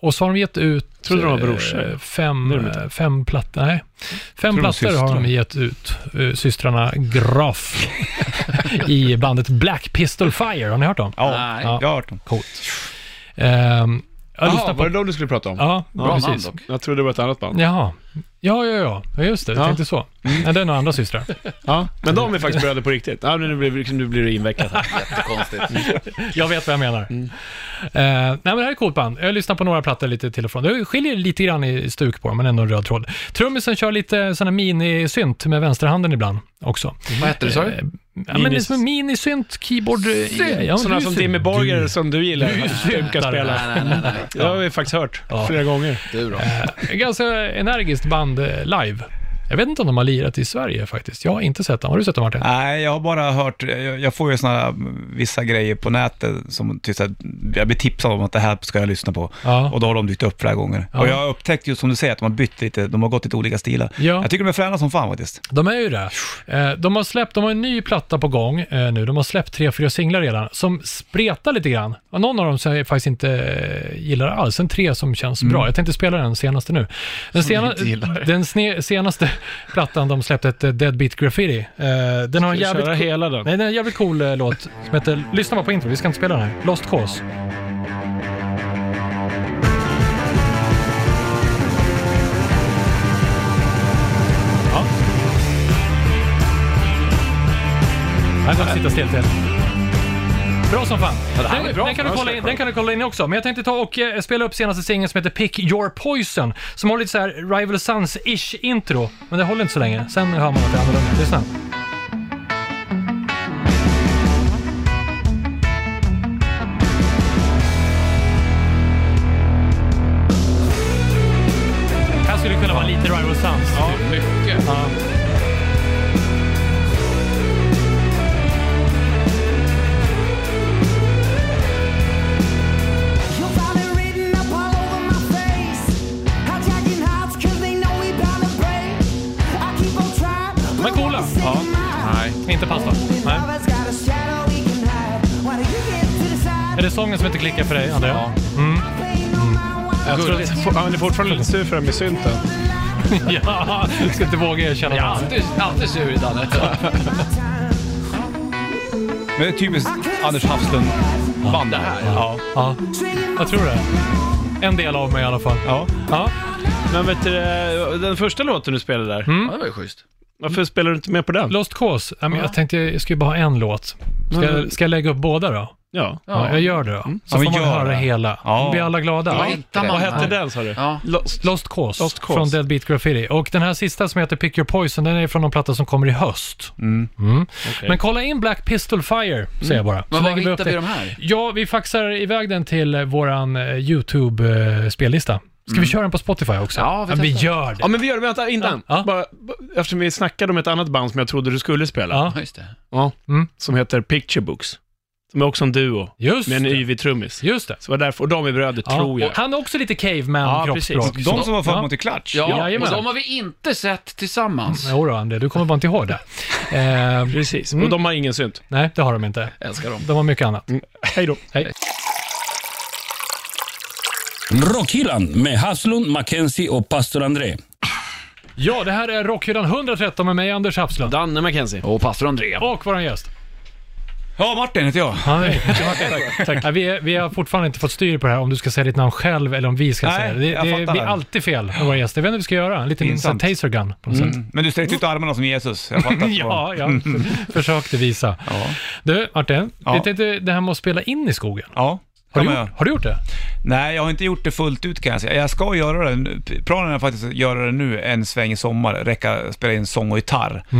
och så har de gett ut...
Trodde de var brorsor.
eh, Fem,
Det är de inte.
eh, fem plattor. Nej. Fem
de var
plattor har de
systrar.
gett ut. eh, systrarna Graf i bandet Black Pistol Fire. Har ni hört dem?
Ja,
Nej.
jag har hört dem.
Ehm, jag lyssnar
Jaha,
på...
var det de du skulle prata om?
Ja,
Bra namn
precis.
dock.
Jag trodde det var ett annat band.
Jaha. Ja, ja, ja. ja. Just det. Jag
Ja. Mm.
tänkte så. Ja, det är några andra systrar.
Ja. Men de är faktiskt bröder på riktigt. Ja, men nu blir, liksom, nu blir du invecklat här.
Jättekonstigt.
Jag vet vad jag menar. Eh, nej, men det här är ett coolt band. Jag lyssnar på några plattor lite till och från. Det skiljer lite grann i stuk på dem, men ändå en röd tråd. Trummisen kör lite sån här minisynt med vänsterhanden ibland också.
Vad hette du, sa
Eh,
du?
Ja, men det är som en minisynt, keyboard... Synt, ja,
Sådana som Timmy Borger som du gillar. Sjuka
där.
spelare.
Nej, nej, nej, nej.
Det har vi faktiskt hört flera gånger.
Du då?
Ganska energiskt band eh, live. Jag vet inte om de har lirat i Sverige faktiskt. Jag har inte sett dem. Har du sett dem Martin?
Nej, jag har bara hört, jag, jag får ju såna här, mm, vissa grejer på nätet som typ så här, jag blir tipsad om att det här ska jag lyssna på.
Ja.
Och då har de dykt upp flera gånger.
Ja.
Och jag har upptäckt just som du säger att de har bytt lite, de har gått lite olika stilar.
Ja.
Jag tycker de är fräna som fan faktiskt.
De är ju det. Eh, De har släppt, de har en ny platta på gång eh, nu. De har släppt tre, fyra singlar redan som spretar lite grann. Och Någon av dem som jag faktiskt inte eh, gillar alls. En tre som känns
Mm.
bra. Jag tänkte spela den senaste nu. Den, sena, den sne, senaste plattan de släppte hette Dead Beat Graffiti. Eh, Den har en
Ska vi
jävligt
köra
cool,
hela den?
nej, den har en jävligt cool eh, låt som heter, lyssna bara på intro, vi ska inte spela den här. Lost Cause. Han kommer sitta stelt igen. Bra som fan.
det här var
den,
bra.
den, kan du
Ja,
kolla in,
självklart.
den kan du kolla in också. Men jag tänkte ta och eh, spela upp senaste singeln som heter Pick Your Poison. Som har lite så här Rival Sons-ish intro. Men det håller inte så länge. Sen hör man att det är annorlunda. Lyssna. Här skulle det kunna vara lite Rival Sons. Ja, mycket. Ja.
You'll find it written up all over my face. Hijacking hearts 'cause they know we bound to break. I keep on trying, but
Men coola.
what's in
Ja.
my
Nej.
Inte pass då. Nej.
Lover's got a shadow we can hide. Why do you get to decide?
Är det sången som inte klickar för dig, Andrea?
Pay no mind why
Jag tror att,
oh,
for- han är fortfarande lite sur för den med synten.
Ja, jag ska inte våga erkänna
Jag är
ja.
alltid, alltid sur i Danne.
my time.
Men det är typiskt Anders Hafslund-band det här. Ja.
ja. Jag tror det. En del av mig i alla fall.
ja.
Ja.
Men vet du, eh, den första låten du spelade där,
Ja, det var ju schysst.
varför spelar du inte med på den?
Lost Cause. Ja, men jag tänkte jag ska ju bara ha en låt. Ska jag, ska jag lägga upp båda då?
Ja.
Ja, jag gör det då. Så
Ja,
får
men
man
gör
höra
det.
hela.
Ja.
Blir alla glada?
Ja.
Vad hette den sa du?
Ja.
Lost.
Lost Cause,
Lost Cause.
från Dead Beat Graffiti. Och den här sista som heter Pick Your Poison, den är från någon platta som kommer i höst. Mm. Men kolla in Black Pistol Fire, säger jag bara. Så
Men var
lägger upp
hittar vi
det.
de här?
Ja, vi faxar iväg den till eh, våran eh, YouTube-spellista. Ska vi köra den på Spotify också?
Ja, vi
vi
testar.
gör det.
Ja men vi gör det, vänta innan.
Ja.
Bara, b- eftersom vi snackade om ett annat band som jag trodde du skulle spela.
Ja.
Ja, just det.
Ja.
Mm.
Som heter Picture Books. Som är också en duo.
Just
Med en
det.
yvig trummis.
Just det.
Så var det därför, och de är bröder
Ja.
tror jag.
och Han är också lite
Ja,
caveman-kroppsspråk.
precis.
De som var
Ja.
förmån till Clutch.
Ja,
Jajamän. Mm.
och de har vi inte sett tillsammans.
Jodå, André, du kommer bara inte ihåg det. Eh,
Precis, och de har ingen synt.
nej, det har de inte.
Älskar dem.
De har mycket annat.
Hej då.
Rockhyllan med Haslund, Mackenzie och pastor André.
Ja, det här är Rockhyllan 113 med mig, Anders Hapslund.
Danne Mackenzie.
Och pastor André.
Och våran gäst.
Ja, Martin heter jag.
Nej, Nej, vi, vi har fortfarande inte fått styr på det här om du ska säga ditt namn själv eller om vi ska
Nej,
säga det. Det,
jag
det
fattar.
blir alltid fel med våra gäster. Jag vet inte vad vi ska göra. En liten sån
Pinsamt. Mm.
taser gun på något sätt.
Men du sträckte ut armarna som Jesus. Jag fattar.
Ja, jag försökte visa.
Ja.
Du, Martin.
Ja.
Vi tänkte det här med att spela in i skogen.
Ja.
Har
kan
du,
man
gjort,
göra.
har du gjort det?
Nej, jag har inte gjort det fullt ut kan jag säga. Jag ska göra det. nu. Planen är faktiskt att göra det nu en sväng i sommar. Räcka spela in sång och gitarr. Eh,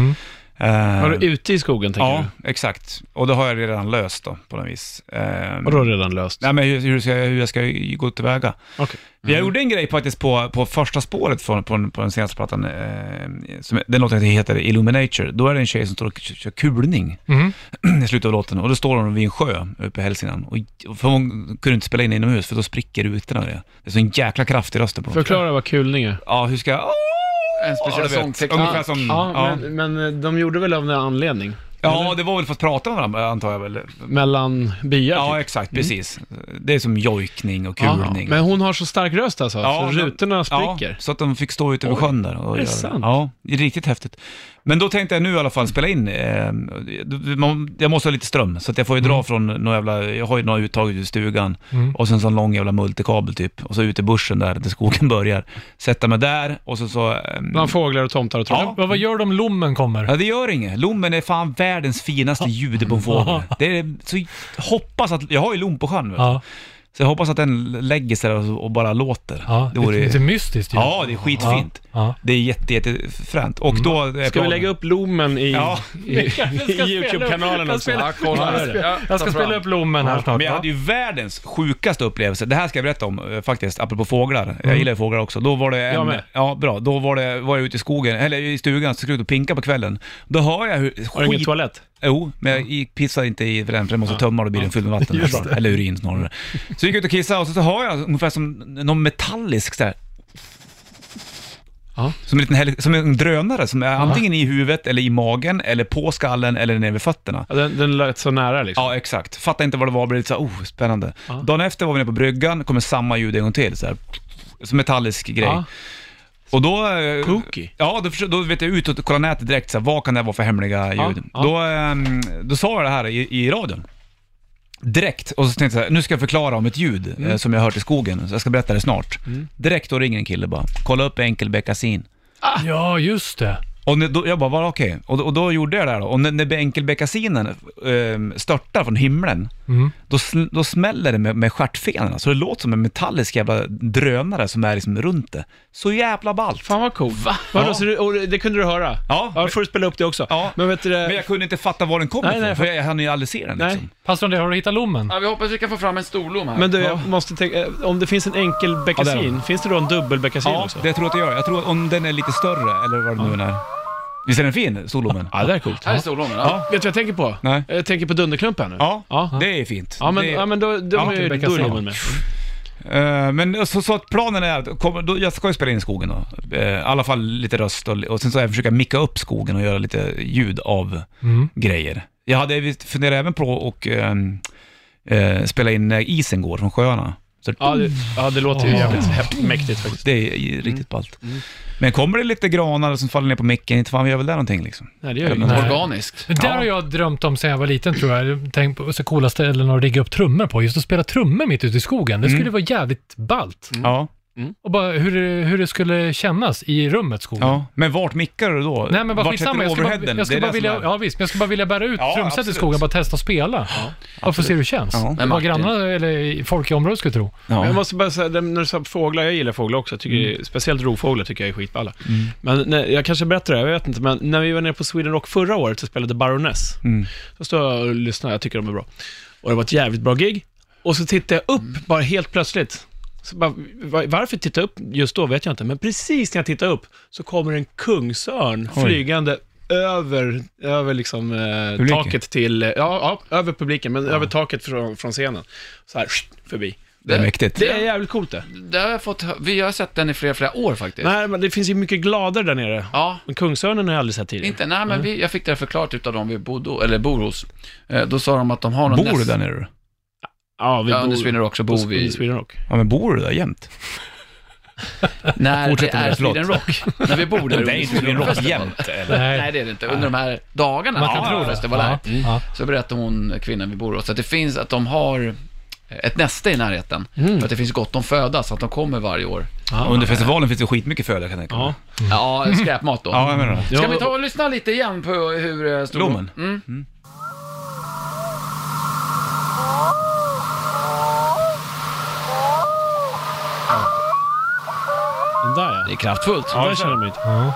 Var Mm. du ute i skogen tänker
Ja,
du?
exakt. Och det har jag redan löst då, på något vis. Eh,
Vadå redan löst?
Nej, men hur, hur, ska jag, hur jag ska gå tillväga.
Okej.
Jag gjorde en grej faktiskt på, på första spåret från, på, den- på den senaste plattan, eh, som, den låten heter Illuminator. Då är det en tjej som står och kör kulning
Mm.
i slutet av låten och då står hon vid en sjö uppe i Hälsingland. Och, och för hon kunde inte spela in inomhus för då spricker rutorna och det. Det är så en jäkla kraft i rösten på dem.
Förklara vad kulning är.
Ja, hur ska jag...
En
Ja,
speciell
du vet.
sångteknik.
Ungefär som...
Ja,
Ja,
Men, men de gjorde väl av en anledning?
ja, det var väl för att prata med varandra antar jag väl.
Mellan byar?
Ja,
typ.
exakt, precis. Det är som jojkning och kulning.
Men hon har så stark röst alltså,
Ja,
så
men-
rutorna spricker.
Ja, så att de fick stå ute vid sjön där. Och
det
göra
sant?
Ja, det är riktigt häftigt. Men då tänkte jag nu i alla fall spela in. Eh, man- jag måste ha lite ström, så att jag får ju dra
Mm.
från några jävla, jag har ju några uttag ute i stugan och sen så en lång jävla multikabel typ. Och så ut i bussen där, där skogen börjar. Sätta mig där och så så... ehm,
Bland fåglar och tomtar och troll.
Ja.
Vad, vad gör du om lommen kommer?
Ja, det gör inget. Lommen är fan världens finaste ljud på en fågel. Det är så... Hoppas att... Jag har ju lom på sjön, vet du.
Ja,
Så jag hoppas att den lägger sig där och, och bara låter.
ja.
det
Lite,
vore...
lite mystiskt ju.
Ja, det är skitfint.
Ja.
Det är jätte, jättefränt. Och då... är
Mm. Ska vi
planen-
lägga upp lommen i,
Ja.
i, i YouTube-kanalen också?
Jag,
Ja,
ska spela-
kolla det.
jag ska spela upp lommen här snart.
Men jag hade ju världens sjukaste upplevelse. Det här ska jag berätta om eh, faktiskt, apropå fåglar. Jag gillar ju fåglar också. Då var det en...
Mm. Jag med.
Ja, bra. Då var, det, var jag ute i skogen, eller i stugan, så skulle jag ut och pinka på kvällen. Då hör jag hur...
Har du ingen toalett?
Jo, men jag gick- pissade inte i för den, för den måste tömma och då blir den fylld med vatten. Eller urin snarare. Så gick jag ut och kissade och så, så hör jag ungefär som någon metallisk sådär.
Ja.
Som, en liten heli- som en drönare som är antingen i huvudet eller i magen eller på skallen eller nere vid fötterna.
Ja, den, den lät så nära liksom.
Ja, exakt. Fattar inte vad det var, blev lite såhär, oh, spännande. Dagen efter var vi nere på bryggan, kommer samma ljud en gång till. Såhär, som metallisk grej.
Ja.
Och då... eh,
Spooky.
Ja, då, försö- då vet jag ut och kolla nätet direkt, så här, vad kan det vara för hemliga ljud?
ja.
Då, ehm, då sa jag det här i, i radion. Direkt, och så tänkte jag så här, nu ska jag förklara om ett ljud
Mm.
eh, som jag har hört i skogen, så jag ska berätta det snart. Direkt då ringer en kille bara, kolla upp enkelbeckasin.
Ja, just det.
Och när- då, jag bara, bara okej. Och, då- och då gjorde jag det här då. Och när, när enkelbeckasinen eh, störtar från himlen,
Mm.
då, sl- då smäller det med, med stjärtfenorna. Så det låter som en metallisk jävla drönare som är liksom runt det. Så jävla ballt.
Fan vad coolt. Va? Vadå,
Ja.
så du, och det kunde du höra?
Ja.
ja får du spela upp det också.
Ja.
Men vet du det...
Men jag kunde inte fatta var den kom
Eh, Nej,
ifrån,
nej,
för jag hann ju aldrig se den
Nej.
liksom.
Pastor André, har du hittat lommen?
Ja, vi hoppas vi kan få fram en storlom här.
Men du, jag måste tänka, eh, om det finns en enkel
Ja, det är
beckasin, finns det då en dubbel beckasin
Ja,
också?
det tror jag att jag gör. Jag tror att om den är lite större, eller vad det nu är. Visst är den fin, storlommen?
Ja, det där är coolt. Eh,
Här är storlommen. Ja.
Vet du vad jag tänker på?
Nej.
Jag tänker på Dunderklumpen nu.
Ja,
Ja.
det är fint.
Ja, men,
det...
ja, men då, då
Ja,
är ju
beckasin.
Durlomen med.
Eh, men så, så att planen är att, kom, då, jag ska ju spela in skogen då. Eh, I alla fall lite röst och, och sen så jag försöka micka upp skogen och göra lite ljud av
Mm.
grejer. Jag hade visst funderat även på och ehm, eh, spela in när isen går från sjöarna. Så,
Ja, det, ja, det låter ju
Åh.
jävligt häftigt, mäktigt faktiskt.
Det är ju riktigt ballt. Men kommer det lite granar som faller ner på micken, inte fan vi gör väl det någonting liksom.
Mm.
Nej, det gör ju
Nej.
inte.
Organiskt.
Det där har jag drömt om sen jag var liten tror jag. Tänk på så coola ställen att rigga upp trummor på. Just att spela trummor mitt ute i skogen. Det skulle
Mm.
vara jävligt ballt.
Ja,
Och bara hur, det- hur det skulle kännas i rummet skogen.
ja. Men vart mickar du då?
Nej men bara
vart
skitsamma, jag
sätter
ska bara,
du overheaden?
jag ska
Det är
bara
det som
vilja,
är-
ja, visst, men jag ska bara vilja bära ut
Ja,
trumset i
absolut.
skogen, bara testa att spela. och få se hur det känns.
Ja.
Men
Vad
Martin-
grannarna eller folk i området skulle tro.
Men
Ja. Mm.
jag måste bara säga, det- när du sa fåglar, jag gillar fåglar också. Jag tycker, det är- Speciellt rovfåglar tycker jag är skitballa. Men när, jag kanske berättar det, här, jag vet inte, men när vi var nere på Sweden Rock förra året så spelade Baroness.
Mm.
Så står jag och lyssnar, jag tycker de är bra. Och det var ett jävligt bra gig. Och så tittar jag upp,
Mm.
bara helt plötsligt. Så bara, va- varför titta upp just då vet jag inte, men precis när jag tittar upp så kommer en kungsörn
Oj.
flygande över, över liksom, eh,
Publiken?
taket till, eh, ja, ja, över publiken, men över taket från, från scenen. Så här, förbi.
Det är mäktigt.
Det är jävligt coolt det.
Det har jag fått, hö- vi har sett den i flera, flera år faktiskt.
Nej, men det finns ju mycket gladare där nere.
Ja,
Men Kungsörnen har jag aldrig sett tidigare.
inte, nej men vi, jag fick det här förklarat utav dem vi bodde, eller bor hos. Eh, Då sa de att de har någon
Bor du
näst-
där nere?
Ja, vi
Ja, under Sweden Rock så bor
under
vi...
Sweden Rock.
Ja men bor du där jämt?
När det
Fortsätt med
är
det, förlåt.
Sweden Rock. När vi bor där
Det är inte Sweden Rock
Festival.
jämt eller?
Nej, det är det inte. Under de här dagarna
Man kan
när
tro
Rock
det. Mm.
Festival är,
Ja. Ja.
så berättar hon, kvinnan vi bor hos, att det finns, att de har ett näste i närheten. För att det finns gott om föda, så att de kommer varje år.
Ja, Under festivalen finns det skitmycket föda kan jag tänka mig.
Ja.
Ja, skräpmat då.
Ja, jag menar det.
Ska vi ta och lyssna lite igen på hur eh, stor...
Lommen?
Mm.
Den där ja.
Det är kraftfullt.
Den där känner man inte.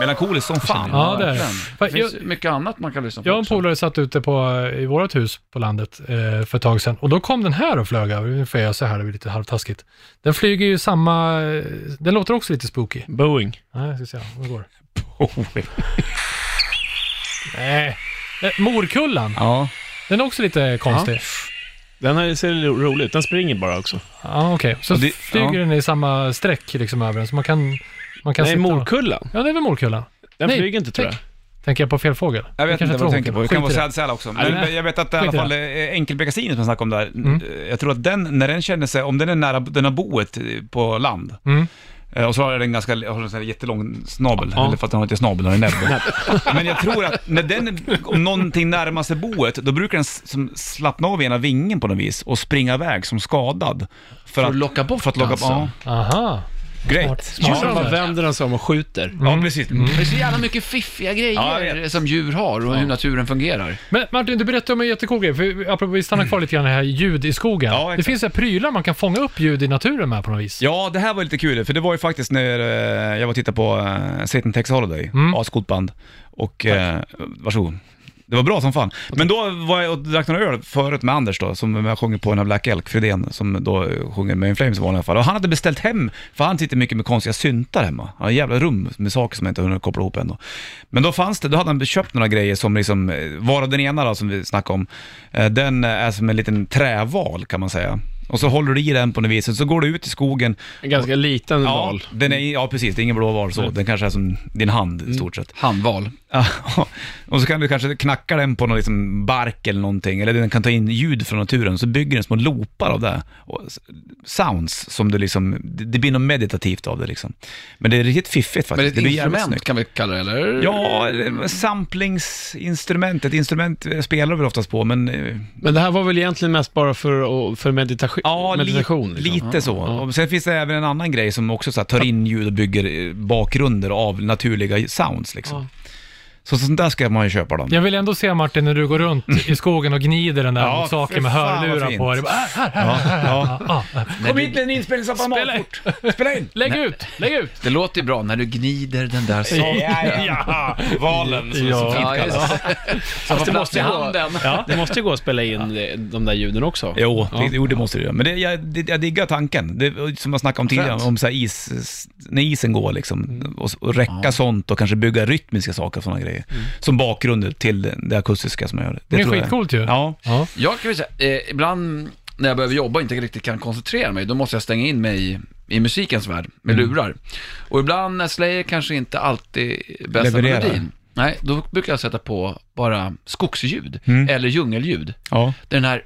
Melankoliskt som fan.
Ja, det är det.
verkligen.
Fan,
Det finns
jag-
mycket annat man kan lyssna på
Jag och en
också.
polare satt ute på, i vårt hus på landet eh, för ett tag sedan och då kom den här och flög över. Nu får jag göra så här, det blir lite halvtaskigt. Den flyger ju samma, eh, den låter också lite spooky.
Boeing.
Nej, jag ska se om det går. Nej. Eh, Morkullan,
Ja.
den är också lite konstig.
Den här ser rolig ut. Den springer bara också.
Ja, okej. Så
Och det-
flyger
ja.
den i samma streck liksom över den, så man kan, man kan
Nej,
sitta och-
morkullan.
Ja, det är väl morkullan.
Den
Nej,
flyger inte tror jag.
Tänker jag på fel fågel?
Jag vet
Det kanske
inte vad du
är
tänker på. Det
tråkigt.
kan vara
Skit i
sad Sal också.
Nej,
Men
nej.
jag vet att i alla
Skit i
fall eh, enkelbeckasinen som jag snackade om där,
Mm.
eh, jag tror att den, när den känner sig, om den är nära den har boet eh, på land,
Mm.
eh, och så har den ganska, har den så här jättelång snabel,
Ja.
eller för att den har inte snabel, den har en näbb. Men jag tror att när den, om någonting närmar sig boet, då brukar den s- som slappna av ena vingen på något vis och springa iväg som skadad. För
För att locka bort
För att locka
alltså.
det.
Ja,
Aha. Smart.
great.
Smart. Mm.
Djuren bara vänder den sig om och skjuter.
Ja, precis.
Det är så jävla mycket fiffiga
Ja,
grejer
jag
som djur har och hur naturen fungerar.
Men Martin, du berättade om en jättecool grej, för vi- apropå vi stannar kvar lite grann i det här ljud i skogen.
Mm. Ja, exakt.
det finns så här prylar man kan fånga upp ljud i naturen med på något vis.
Ja, det här var lite kul, för det var ju faktiskt när eh, jag var och tittade på eh, Satan Tex Holiday,
Mm.
ascoolt band. Och eh, varsågod. Det var bra som fan. Men då var jag och drack några öl förut med Anders då, som jag sjunger på den här Black Elk, Fredén, som då sjunger med Flames i alla fall. Och han hade beställt hem, för han sitter mycket med konstiga syntar hemma. Han har ett jävla rum med saker som jag inte hunnit koppla ihop än då. Men då fanns det, då hade han köpt några grejer som liksom, eh, varav den ena då som vi snackade om, eh, den är som en liten träval kan man säga. Och så håller du i den på något vis, och så går du ut i skogen
En ganska liten
Ja,
val.
Den är, ja, precis. Det är ingen blå val så. Den kanske är som din hand
Mm.
i stort sett.
Handval.
Ja, och så kan du kanske knacka den på någon liksom bark eller någonting. Eller den kan ta in ljud från naturen. Så bygger den små loopar av det. Och s- sounds som du liksom, det, det blir något meditativt av det liksom. Men det är riktigt fiffigt
Men
faktiskt.
ett
Det blir jävligt
instrument
snyggt.
kan vi kalla det, eller?
Ja, eller samplingsinstrument. Ett instrument spelar vi oftast på, men eh,
Men det här var väl egentligen mest bara för, att- för medita-
Ja, li-
meditation. liksom.
lite så.
Ja.
Och sen finns det även en annan grej som också så här, tar in ljud och bygger eh, bakgrunder av naturliga sounds. Liksom. Så sånt där ska man ju köpa då.
Jag vill ändå se Martin när du går runt i skogen och gnider den där
Mm. Ja,
mot saker med
för fan, vad
hörlurar
fint.
på. Det är bara, "Ah, här, här, här, ah, ah, ah."
Kom hit med en inspelningsapparat
Spela-
fort! Spela in!
Lägg ut, lägg ut!
Det låter ju bra när du gnider den där saken.
Ja.
Valen som
Ja.
så fint
Ja,
kallas.
just det. Som har
det
plats
måste
i
ju gå-
handen.
Ja, det måste ju gå att spela in eh, de där ljuden också.
Jo, det, jo, det måste du göra. Men det, jag, det, jag diggar tanken. Det, som jag snackade om tidigare, om så här is, s- när isen går liksom.
Mm.
Och, s- och räcka sånt och kanske bygga rytmiska saker och sådana grejer. Som bakgrund till det akustiska som jag gör.
Mm. Det är
tror jag-
skitcoolt ju.
Ja.
Ja.
Jag kan väl säga, eh, ibland när jag behöver jobba och inte riktigt kan koncentrera mig, då måste jag stänga in mig i, i musikens värld med
Mm.
lurar. Och ibland när Slayer kanske inte alltid bästa
Levererar.
melodin, nej, då brukar jag sätta på bara skogsljud
Mm.
eller djungelljud.
ja.
Den här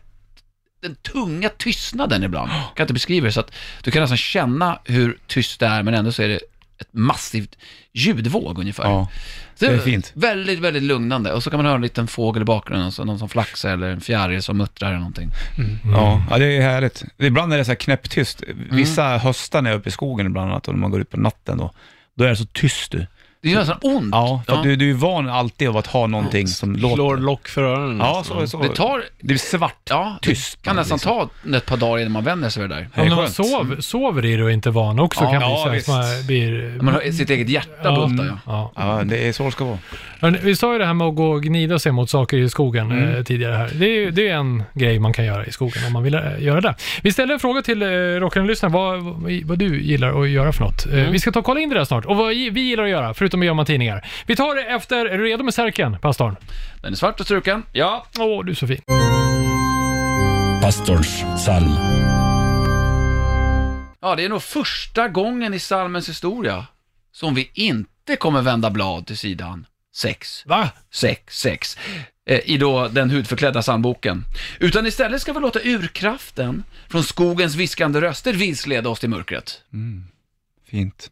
den tunga tystnaden ibland, kan jag inte beskriva det, så att du kan nästan känna hur tyst det är, men ändå så är det ett massivt ljudvåg ungefär.
ja.
Så
Det är fint.
Väldigt, väldigt lugnande. Och så kan man höra en liten fågel i bakgrunden, så någon som flaxar eller en fjäril som muttrar eller någonting.
Mm.
Ja, ja, det är härligt. Ibland är det så här knäpptyst. Vissa höstar när jag är uppe i skogen bland annat och när man går ut på natten då, då är det så tyst du.
Det gör nästan ont.
Ja, för Att du, du är van alltid av att ha någonting som låter.
Slår lock för öronen.
Ja, så, så.
Det tar...
Det blir svart.
Ja,
Tyst,
det kan nästan
liksom.
ta ett par dagar innan man vänjer sig vid det där.
Det
Om man
är skönt. Mm.
sov, sover i det och inte är van också
Ja,
kan
ja,
bli
visst. Mm.
så här, man blir...
Man har sitt eget hjärta
Ja,
bultar, ja.
ja.
Ja, det är så det ska vara.
Hörrni, Vi sa ju det här med att gå och gnida sig mot saker i skogen
Mm.
eh, tidigare här. Det är, ju- det är en grej man kan göra i skogen om man vill eh, göra det. Vi ställer en fråga till eh, rockaren-lyssnaren vad, vad- vad du gillar att göra för något. Eh,
Mm.
Vi ska ta och kolla in det där snart och vad vi gillar att göra, förutom att gömma tidningar. Vi tar det efter, är du redo med särken, pastorn?
Den är svart och struken. Ja.
Åh, du är så fin.
Pastorns psalm.
Ja, det är nog första gången i salmens historia som vi inte kommer vända blad till sidan 6.
Va?
6, 6 Eh, i då den hudförklädda sandboken. Utan istället ska vi låta urkraften från skogens viskande röster vilseleda oss till mörkret.
Fint.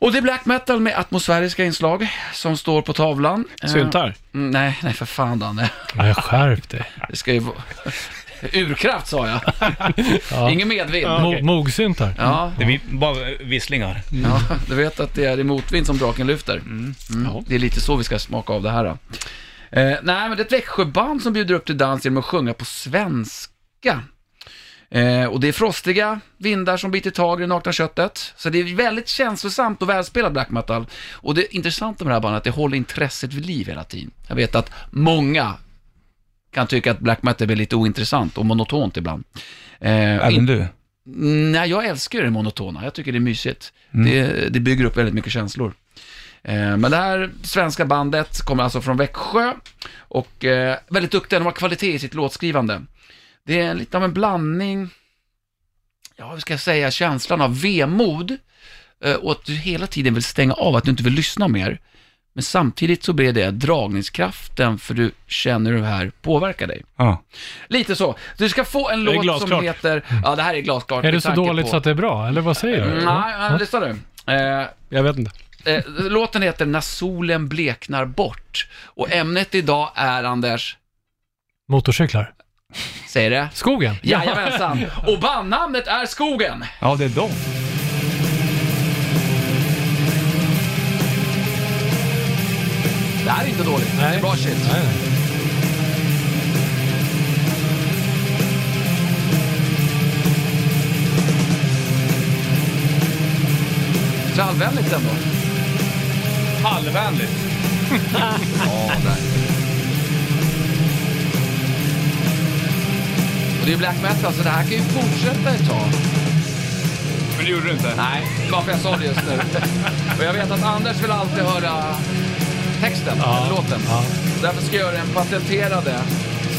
Och det är black metal med atmosfäriska inslag som står på tavlan. Eh,
Syntar.
mm, nej, nej för fan Danne.
Ja, jag skärp dig.
Det ska ju vara... Urkraft sa jag. Ingen medvind. Ja.
Mo- Mogsynt här.
Ja,
Det blir bara visslingar.
du vet att det är i motvind som draken lyfter. Mm. Det är lite så vi ska smaka av det här. Då. Eh, nej, men det är ett Växjöband som bjuder upp till dans genom att sjunga på svenska. Eh, och det är frostiga vindar som biter tag i det nakna köttet. Så det är väldigt känslosamt och välspelat black metal. Och det intressanta med det här bandet är att det håller intresset vid liv hela tiden. Jag vet att många kan tycka att black metal blir lite ointressant och monotont ibland. Eh,
Även du.
Mm, Nej, jag älskar ju det monotona. Jag tycker det är mysigt. Det, det bygger upp väldigt mycket känslor. Eh, men det här svenska bandet kommer alltså från Växjö och eh, väldigt duktiga. De har kvalitet i sitt låtskrivande. Det är lite av en blandning, ja, hur ska jag säga, känslan av vemod eh, och att du hela tiden vill stänga av, att du inte vill lyssna mer. Men samtidigt så blir det dragningskraften för du känner hur det här påverkar dig.
Ja.
Lite så. Du ska få en
Det är
låt som
glasklart.
heter... Ja, det här är glasklart.
Är det
med
så
tanke
dåligt
på-
så att det är bra, eller vad säger du?
Mm, Nej, nej, lyssna nu. Eh,
Jag vet inte.
eh, låten heter När solen bleknar bort. Och ämnet idag är, Anders,
Motorcyklar.
säger det?
Skogen.
Jajamensan. Och bandnamnet är Skogen.
ja, det är dem.
Det här är inte dåligt. Det
Nej.
är bra shit.
Nej, nej.
Trallvänligt ändå.
Allvänligt.
Ja, där. Och det är black metal, så det här kan ju fortsätta ett tag.
Men det gjorde du inte.
Nej, varför jag sa det just nu. Och jag vet att Anders vill alltid höra texten, eller låten. Därför ska jag göra den patenterade.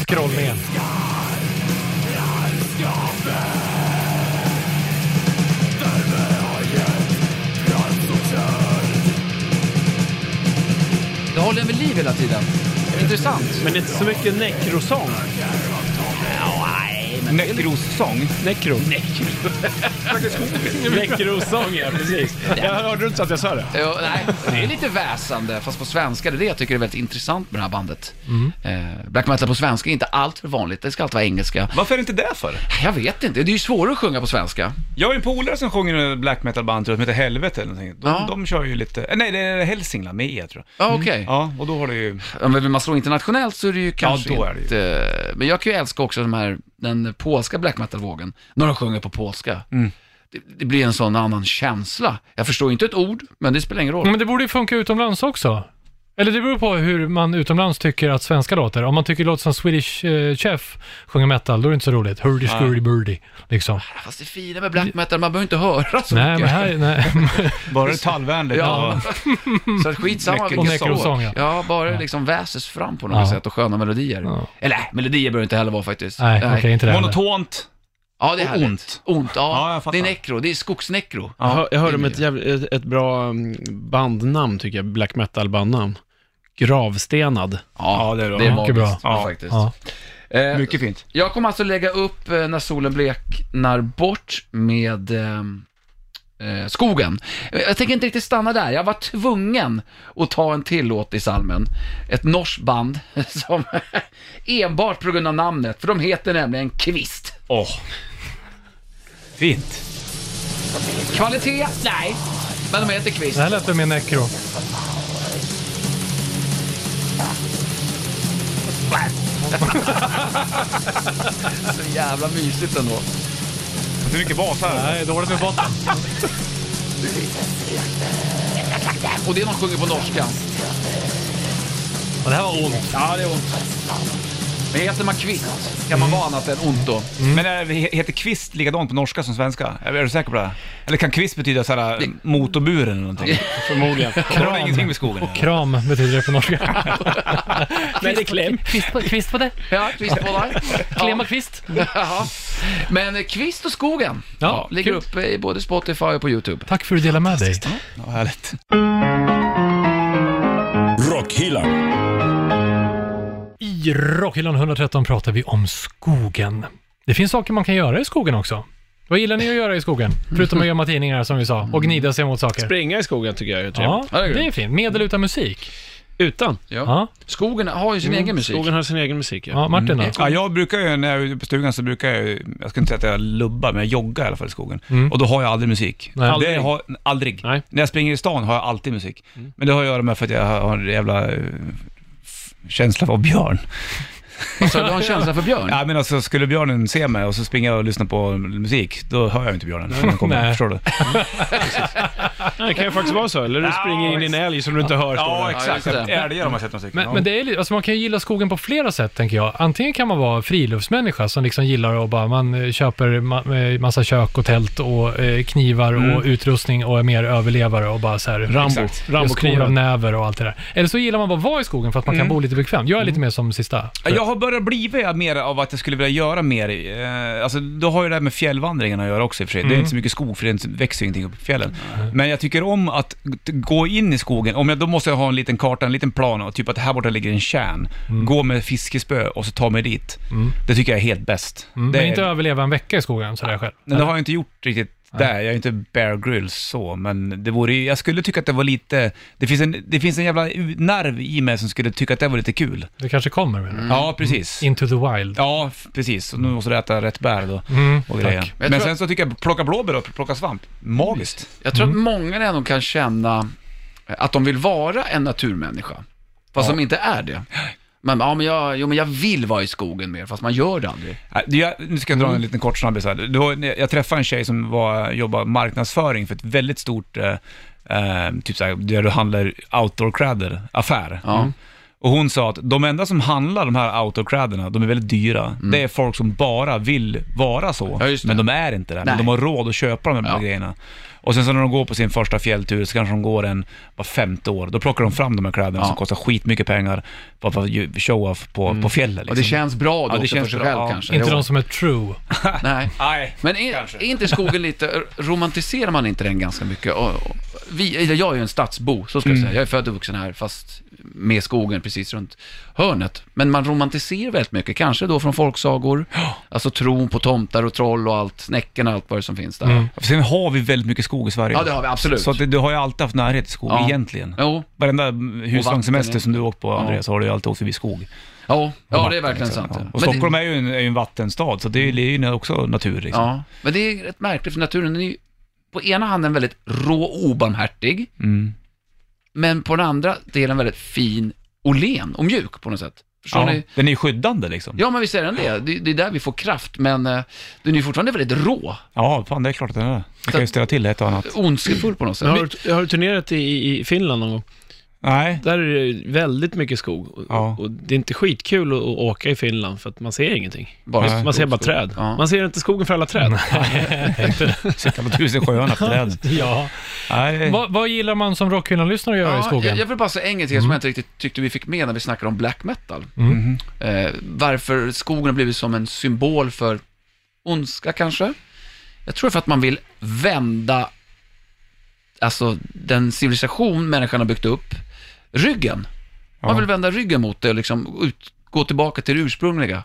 Scrollningen.
Det håller den vid liv hela tiden. Intressant.
Men det är inte så mycket nekrosång.
Nej, men
Näckrossång.
Necro. Necrosång, ja precis. Jag hörde inte så att jag sa det.
Jo, nej, det är lite väsande, fast på svenska. Det är det jag tycker är väldigt intressant med det här bandet.
Mm.
Eh, black metal på svenska är inte allt för vanligt. Det ska alltid vara engelska.
Varför är det inte det för?
Jag vet inte, det är ju svårare att sjunga på svenska.
Jag har ju en polare som sjunger i ett black metal-band tror jag, som heter Helvete eller någonting. De,
Ja.
de kör ju lite, eh, nej det är Hälsingland med E tror jag.
Ja, okej.
Ja, och då har du ju,
Ja, men vill man slå internationellt så är det ju kanske
då är det ju.
inte... Men jag kan ju älska också de här, den polska black metal-vågen. När de sjunger på polska.
Mm.
Det, det blir en sån annan känsla. Jag förstår inte ett ord, men det spelar ingen roll.
Mm.
Men det borde ju funka utomlands också. Eller det beror på hur man utomlands tycker att svenska låter. Om man tycker det låter som Swedish eh, Chef sjunger metal, då är det inte så roligt. Hurdy scurdy birdy, liksom.
Fast det fina med black metal, man behöver inte höra så
Nej, men
mycket.
här... Nej.
bara det är tallvänligt.
Ja.
och-
Så att skitsamma
Mycket-
och
vilken
nekrosång,
sång.
ja.
Ja. bara liksom väses fram på något
Ja.
sätt och sköna melodier.
Ja.
Eller nej, melodier behöver inte heller vara faktiskt.
Nej, okej, inte det heller.
Monotont.
Ja, det är
Och
härligt.
ont.
Ont,
Ja,
ja.
jag fattar.
det är nekro, det är skogsnekro.
Jag, hör, jag hörde om
det är
ett, jävla, ett, ett bra mm, bandnamn, tycker jag. Black metal-bandnamn. Gravstenad.
Ja,
det är bra.
det är
Mycket
magiskt
bra.
Ja.
faktiskt.
Ja.
Eh,
Mycket fint.
Jag kommer alltså lägga upp eh, När solen bleknar bort med ehm, eh, skogen. Eh, Jag tänker inte riktigt stanna där. Jag var tvungen att ta en till låt i salmen. Ett norskt band som enbart på grund av namnet, för de heter nämligen Kvist.
Åh. Fint.
Kvalitet? Nej. Men de heter Kvist.
Det här lät väl mer necro.
Så jävla mysigt ändå.
Hur mycket bas här?
Nej, dåligt med botten.
Och det de sjunger på norska.
Och det här var ont.
Ja, det är ont. Men heter man Kvist kan man vara annat än ont då.
Men är, det- heter kvist likadant på norska som svenska? Är, är du säker på det? Eller kan kvist betyda såhär motorburen eller någonting?
Förmodligen.
Kan det ha ingenting med skogen att göra?
Kram betyder det på norska.
Men det är kläm.
Kvist på, kvist på det.
Ja, Kvist på dig.
Klemma kvist.
Jaha. Men eh, Kvist och skogen
Ja,
ja, ligger
kul.
uppe i både Spotify och på YouTube.
Tack för att du delade med dig.
Ja, härligt.
Rockhyllan.
I Rockhyllan 113 pratar vi om skogen. Det finns saker man kan göra i skogen också. Vad gillar ni att göra i skogen? Förutom att gömma tidningar som vi sa, och gnida sig mot saker.
Springa i skogen tycker jag är trevligt.
Ja, det är fint. Medel utan musik.
Utan.
Ja,
Skogen har ju sin egen musik.
Mm, Skogen har sin egen musik, ja.
ja Martin då?
Ja, jag brukar ju, när jag är ute på stugan så brukar jag ju- jag ska inte säga att jag lubbar, men jag joggar i alla fall i skogen. Och då har jag aldrig musik.
Mm. Nej.
Det
Aldrig.
har, aldrig.
Nej.
När jag springer i stan har jag alltid musik.
Mm.
Men det har jag att göra med för att jag har en jävla eh, f- känsla av björn.
Alltså, du har en känsla för björn.
Nej men alltså skulle björnen se mig och så springer jag och lyssnar på musik, då hör jag inte björnen. Den kommer,
Nej.
förstår du?
Nej, det kan ju faktiskt vara så. Eller du
Ja,
springer in i en älg som du inte hör. står det.
exakt.
Älgar har man sett några stycken.
Men, men det är, li- alltså man kan ju gilla skogen på flera sätt, tänker jag. Antingen kan man vara friluftsmänniska som liksom gillar att bara, man eh, köper ma- eh, massa kök och tält och eh, knivar och utrustning och är mer överlevare och bara så här...
Rambo.
Exakt.
Rambo kniv av
Rambo-kniven.
näver och allt det där. Eller så gillar man bara att vara i skogen för att man kan bo lite bekvämt. Jag är lite mer som sista.
Ja, Jag har börjat blivit mer av att jag skulle vilja göra mer, eh, alltså då har ju det här med fjällvandringen att göra också i och för sig.
Mm.
Det är inte så mycket skog för det är inte- växer ju ingenting upp i fjällen. Men jag tycker om att g- gå in i skogen, om jag, då måste jag ha en liten karta, en liten plan och typ att här borta ligger en tjärn.
Mm.
Gå med fiskespö och så ta mig dit. Det tycker jag är helt bäst.
Mm,
Det,
Men inte
är-
överleva en vecka i skogen sådär själv.
men det har jag inte gjort riktigt där, jag är ju inte Bear Grylls så, men det vore ju, jag skulle tycka att det var lite, det finns en, det finns en jävla u- nerv i mig som skulle tycka att det var lite kul.
Det kanske kommer menar du?
Ja, precis.
Into the wild.
Mm. Ja, f- precis. Och nu måste du äta rätt bär då.
Mm,
Och grejer.
tack.
Jag
Men
tror-
sen så tycker jag plocka blåbär och plocka svamp. Magiskt.
Jag tror att många ändå kan känna eh, att de vill vara en naturmänniska, fast de inte är det. Men, ja, men jag, jo, men jag vill vara i skogen mer, fast man gör det aldrig.
Äh, det- Jag, nu ska jag dra
Mm.
en liten kort snabbis här. Det var, jag träffade en tjej som var, jobbade marknadsföring för ett väldigt stort, eh, eh, typ såhär, där du handlar outdoor-kläder, affär.
Ja.
Och hon sa att de enda som handlar de här outdoor-kläderna, de är väldigt dyra. Det är folk som bara vill vara så,
Mm. Ja, just det.
men de är inte det. Men
Nej.
de har råd att köpa de här
Ja.
grejerna. Och sen så när de går på sin första fjälltur, så kanske de går en var femte år, då plockar de fram de här kläderna
Ja. Mm.
som kostar skitmycket pengar, bara för att ju- show off på, på fjället.
Och
Liksom.
det känns bra då
Ja, det
också
känns
för sig
bra,
själv
ja.
kanske.
Inte
Jo.
de som är true.
Nej.
Nej.
Men är, är inte skogen lite,
Mm.
romantiserar man inte den ganska mycket? Och, och, vi, eller jag är ju en stadsbo, så ska jag säga. Jag är född och vuxen här, fast med skogen precis runt hörnet. Men man romantiserar väldigt mycket, kanske då från folksagor, alltså tron på tomtar och troll och allt, snäcken och allt vad det som finns där.
Sen har vi väldigt mycket skog i Sverige.
Ja, det har vi, absolut.
Så att, du- du har ju alltid haft närhet till skog,
Ja.
egentligen.
Jo,
Varenda
vatten,
husvagnssemester
ja.
som du har åkt på, Andreas, har du ju alltid åkt förbi skog.
ja, ja det är
Vatten,
verkligen
liksom.
sant.
Ja.
Men
Och
det-
Stockholm är ju en, är ju en vattenstad, så det är ju det är ju också natur. Liksom.
Ja, men det är rätt märkligt för naturen är ju på ena handen väldigt rå och obarmhärtig,
Mm.
men på den andra delen väldigt fin och len och mjuk på något sätt. Förstår
Ja.
ni?
Den är ju skyddande liksom.
Ja, men visst är den det. det. Det är där vi får kraft, men eh, den är ju fortfarande väldigt rå,
Ja, fan det är klart att den är. Det kan ju ställa till ett och annat.
ondskefull på något sätt.
Har du, har du turnerat i, i Finland någon gång?
Nej.
Där är det väldigt mycket skog. Och,
Ja.
och det är inte skitkul att, att åka i Finland för att man ser ingenting.
Bara
Man ser bara träd.
Ja.
Man ser inte skogen för alla träd.
Sitta på tusen sjöarna på träd.
Ja.
Nej, det-
Vad, vad gillar man som rockhyllan-lyssnare att göra i
Ja,
skogen?
jag, jag vill bara säga en grej till er som jag inte riktigt tyckte vi fick med när vi snackade om black metal. Eh, varför skogen har blivit som en symbol för ondska kanske? Jag tror för att man vill vända, alltså den civilisation människan har byggt upp, ryggen. Man
Ja.
vill vända ryggen mot det och liksom ut, gå tillbaka till det ursprungliga.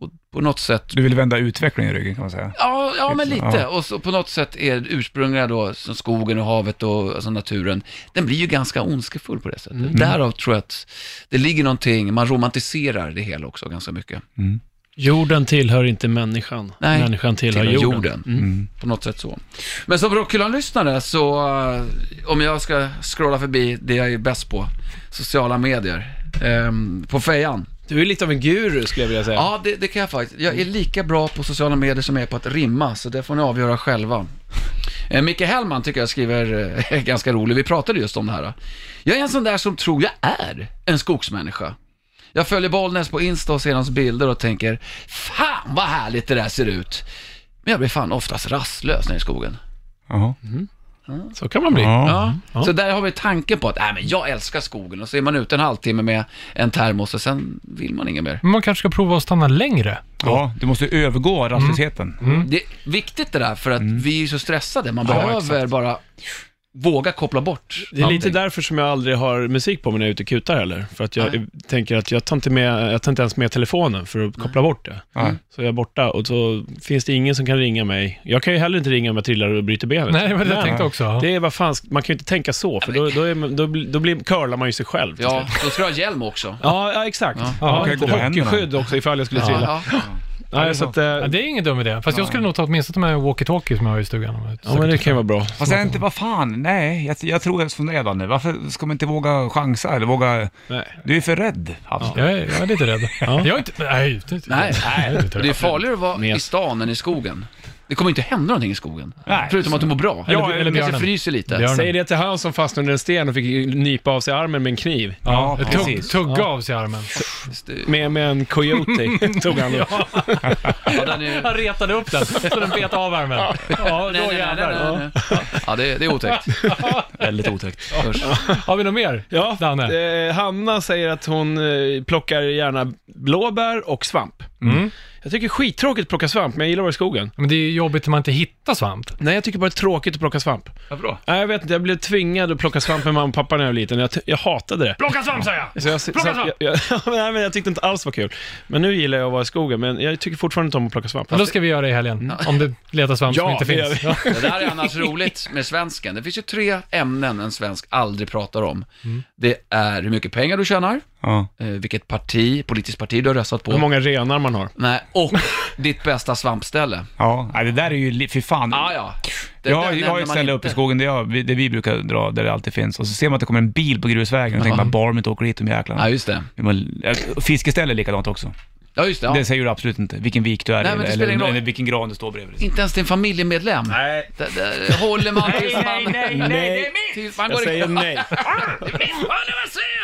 Och på något sätt
Du vill vända utvecklingen i ryggen kan man säga.
Ja, ja men
Liksom,
Lite så,
lite.
ja.
Och så på något sätt är det ursprungliga då, som skogen och havet och alltså naturen, den blir ju ganska ondskefull på det sättet.
Mm.
Därav tror jag att det ligger någonting, man romantiserar det hela också ganska mycket.
Jorden tillhör inte människan.
Nej,
människan tillhör,
tillhör
jorden. Mm.
jorden. Mm. På något sätt så. Men som rockhyllan-lyssnare så, eh, om jag ska scrolla förbi det jag är bäst på, sociala medier, ehm, på fejan.
Du är lite av en guru skulle jag vilja säga.
Ja, det, det kan jag faktiskt. Jag är lika bra på sociala medier som jag är på att rimma, så det får ni avgöra själva. Eh, Micke Hellman tycker jag skriver eh, ganska roligt. Vi pratade just om det här. då. Jag är en sån där som tror jag är en skogsmänniska. Jag följer Bollnäs på Insta och ser hans bilder och tänker, fan vad härligt det där ser ut. Men jag blir fan oftast rastlös nere i skogen.
Jaha.
Så kan man bli.
Ja.
Ja. Så där har vi tanken på att, nej men jag älskar skogen. Och så är man ute en halvtimme med en termos och sen vill man inget mer.
Men Man kanske ska prova att stanna längre.
ja, du måste ju övergå rastlösheten.
Det är viktigt det där, för att vi är så stressade. Man behöver
exakt.
bara våga koppla bort
Det är lite
allting.
därför som jag aldrig har musik på mig när jag är ute och kutar heller. För att jag
Nej.
tänker att jag tar, inte med, jag tar inte ens med telefonen för att koppla bort det.
Nej.
Så jag är borta och så finns det ingen som kan ringa mig. Jag kan ju heller inte ringa om jag trillar och bryter benet.
Nej, men jag tänkte också.
Det är vad fan, man kan ju inte tänka så, för då, då, är, man- då, blir- då blir, curlar man ju sig själv. till
Ja,
slut.
då ska du ha hjälm också.
ja, ja exakt. Ja,
okej,
lite
gå på händerna.
hockeyskydd också ifall jag skulle
Ja,
trilla.
ja.
Nej, så att, eh,
Ja, det är ingen dum idé. Fast jag skulle nog ta åtminstone med walkie-talkie som jag har i stugan. om jag-
ja, men det kan ju vara bra.
Fast jag är inte, vad fan, nej, jag, jag tror som det är nu. Varför ska man inte våga chansa eller våga...
Nej.
Du är för rädd, Havs.
Jag är, jag är lite rädd. Jag är inte... Nej. det-
Nej.
jag är inte
Det är
rädd.
farligare att vara
Med.
i stan än i skogen. Det kommer inte hända någonting i skogen.
Nej.
Förutom att du mår bra.
Eller-
Ja,
eller
eller kanske
björnen.
fryser lite.
Björnen.
Säg det till han som fastnade under en sten och fick nypa av sig armen med en kniv.
Ja,
Ett tugg,
precis.
tugga av sig armen.
Med, med en coyote tog han ja.
Ja, den är...
Han retade upp den, så den bet av armen. Ja,
Nej,
då
nej, nej, nej,
jävlar.
nej, nej. Ja, det, det är otäckt.
Väldigt otäckt.
Usch.
Har vi något mer?
Ja,
Danne?
eh, Hanna säger att hon eh, plockar gärna blåbär och svamp.
Mm.
Jag tycker skittråkigt att plocka svamp, men jag gillar att vara i skogen.
Men det är ju jobbigt om man inte hittar svamp.
Nej, jag tycker bara det är tråkigt att plocka svamp.
Varför då?
Nej, jag vet inte, jag blev tvingad att plocka svamp med mamma och pappa när jag var liten. Jag, ty- jag hatade det.
Plocka svamp säger jag!
Så jag, så
Plocka svamp!
jag, jag, nej, men jag tyckte inte alls var kul. Men nu gillar jag att vara i skogen, men jag tycker fortfarande inte om att plocka svamp.
Men då ska vi göra det i helgen. Om du letar svamp som
Ja,
inte
det gör
finns.
vi.
Ja.
Det där är annars roligt med svensken. Det finns ju tre ämnen en svensk aldrig pratar om. Det är hur mycket pengar du tjänar,
Ja.
eh, vilket parti, politiskt parti du har röstat på.
Hur många renar man har.
Nej, och ditt bästa svampställe.
ja, nej, det där är ju, li- fy fan.
Ah, ja, Det-
Jag,
den
har- jag har
nämner
ju ett
man
ställe
inte.
uppe i skogen där, jag, vi- där vi brukar dra, där det alltid finns. Och så ser man att det kommer en bil på grusvägen och tänker man, bara de inte åker dit de jäklarna.
Ja, just det.
Hur man- äh, Fiskeställe är likadant också.
Ja, just det. Ja.
Det säger du absolut inte, vilken vik du är
Nej,
i
men det
eller,
spelar ingen
eller,
roll.
eller vilken gran du står bredvid.
Inte ens din familjemedlem. Nej. Där, där håller man tills man... Nej, nej, nej,
Nej,
Tills man
jag
går
säger
i...
nej.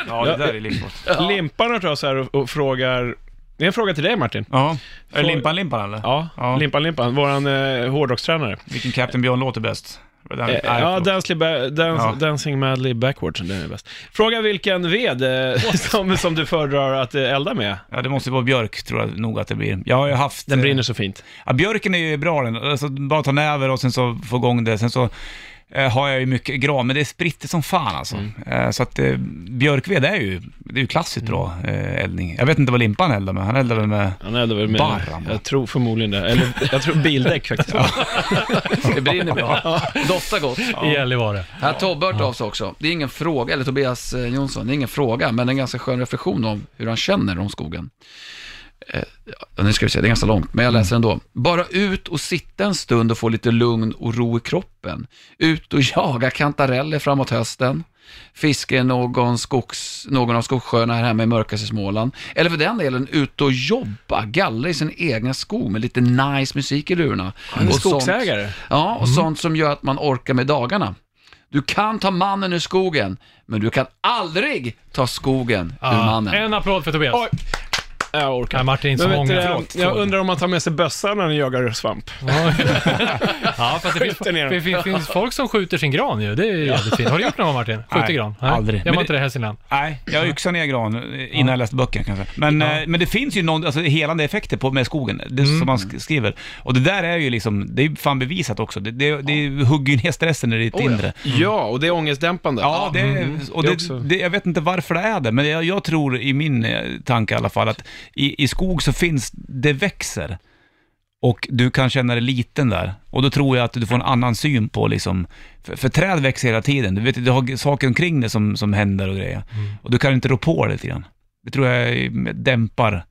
Ja, det där är livsfarligt.
Limpan har hört av sig här och, och frågar... Det är en fråga till dig Martin.
Ja. Är det Limpan Limpan eller?
Ja,
Ja.
Limpan Limpan, våran eh, hårdrockstränare.
Vilken Captain Björn låter bäst? Den, nej,
Eh, ja,
förlåt.
Dancely ba- dance,
Ja.
Dancing Madly Backwards, den är bäst. Fråga vilken ved eh, som, som du föredrar att eh, elda med.
ja, det måste ju vara björk tror jag nog att det blir. Jag har ju haft...
Den
eh,
brinner så fint.
Ja, björken är ju bra den. Alltså, bara ta näver och sen så få igång det. Sen så eh, har jag ju mycket gran, men det spritter som fan alltså. Eh, Så att eh, björkved är ju, det är ju klassiskt bra eh, eldning. Jag vet inte vad limpan eldar med, han eldar väl med...
Han eldar väl med...
Barran, va?
Jag tror förmodligen det. Eller jag tror bildäck faktiskt.
Det brinner bra. Doftar gott.
I Gällivare.
Här har Tobbe hört av sig också. Det är ingen fråga, eller Tobias eh, Jonsson, det är ingen fråga, men en ganska skön reflektion om hur han känner om skogen. Eh, ja, nu ska vi se, det är ganska långt, men jag läser ändå. Bara ut och sitta en stund och få lite lugn och ro i kroppen. Ut och jaga kantareller framåt hösten. Fiska i någon, skogs, någon av skogssjöarna här hemma i mörkaste Småland. Eller för den delen, ut och jobba, gallra i sin egna skog med lite nice musik i lurarna.
Han är
Och sånt-
skogsägare. Mm.
Ja, och sånt som gör att man orkar med dagarna. Du kan ta mannen ur skogen, men du kan aldrig ta skogen ur
Ah. Ja,
mannen.
En applåd för Tobias.
Oj. Jag orkar
Nej, Martin, så
Men vet
många.
du, jag,
Förlåt.
jag undrar om man tar med sig bössa när man jagar svamp.
ja, fast det finns,
Skjuter ner dem.
det finns, finns folk som skjuter sin gran ju. Det är ju jävligt fint. Har du gjort någon gång, Martin? Skjuter
Nej,
gran?
aldrig.
Jag
Men
var
det-
inte det i Hälsingland.
Nej, jag yxade ner gran eh, innan jag läste böckerna kanske. Men, eh, men det finns ju någon, alltså, helande effekter på, med skogen, det är som man sk- skriver. Och det där är ju liksom, det är ju fan bevisat också. Det, det, det hugger ju ner stressen i ditt inre.
Ja, och det är ångestdämpande.
Ja, det, och
Mm, Det
det,
också.
det, jag vet inte varför det är det, men jag, jag tror i min eh, tanke i alla fall att i, i skog så finns, det växer. Och du kan känna dig liten där. Och då tror jag att du får en annan syn på liksom, för, för träd växer hela tiden. Du vet, du har saker omkring dig som, som händer och grejer.
Mm.
Och du kan inte rå på det lite grann. Det tror jag eh, dämpar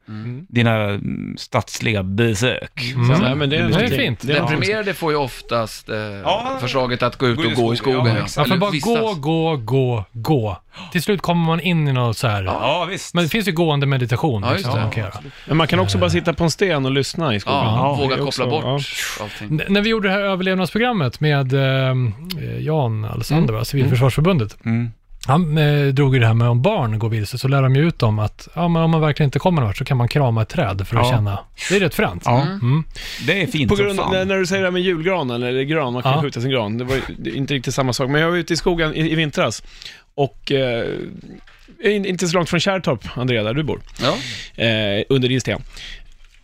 dina mm, stadsliga besök.
Så, nej, men det, är
Det är
någonting.
fint.
Det är
Den
någonting.
primerade får ju oftast eh,
Ja.
förslaget att gå ut
Gå i
och gå i
skogen,
skogen.
ja,
ja.
exakt.
Man får
Eller
bara
vistas.
gå, gå, gå, gå. Till slut kommer man in i något så här.
Ja, visst.
Men det finns ju gående meditation.
Ja,
också
just det.
man kan göra.
Men man kan också bara sitta på en sten och lyssna i skogen.
Ja,
Det är
våga koppla
också-
bort
ja.
allting.
N- När vi gjorde det här överlevnadsprogrammet med ehm, eh, Jan Alexander, va? Civilförsvarsförbundet.
Mm.
Han eh, drog ju det här med om barn går vilse, så lär de ju ut dem att ja, men om man verkligen inte kommer någon vart så kan man krama ett träd för att
Ja.
känna. Det är rätt fränt.
Ja,
Mm.
det är fint
På
som
grund,
fan.
när, när du säger det här med julgranen, eller gran, man kan
Ja.
skjuta sin gran. Det var ju det är inte riktigt samma sak. Men jag var ute i skogen i, i vintras och eh, in, inte så långt från Kärrtorp, Andrea, där du bor,
Ja.
eh, under din sten.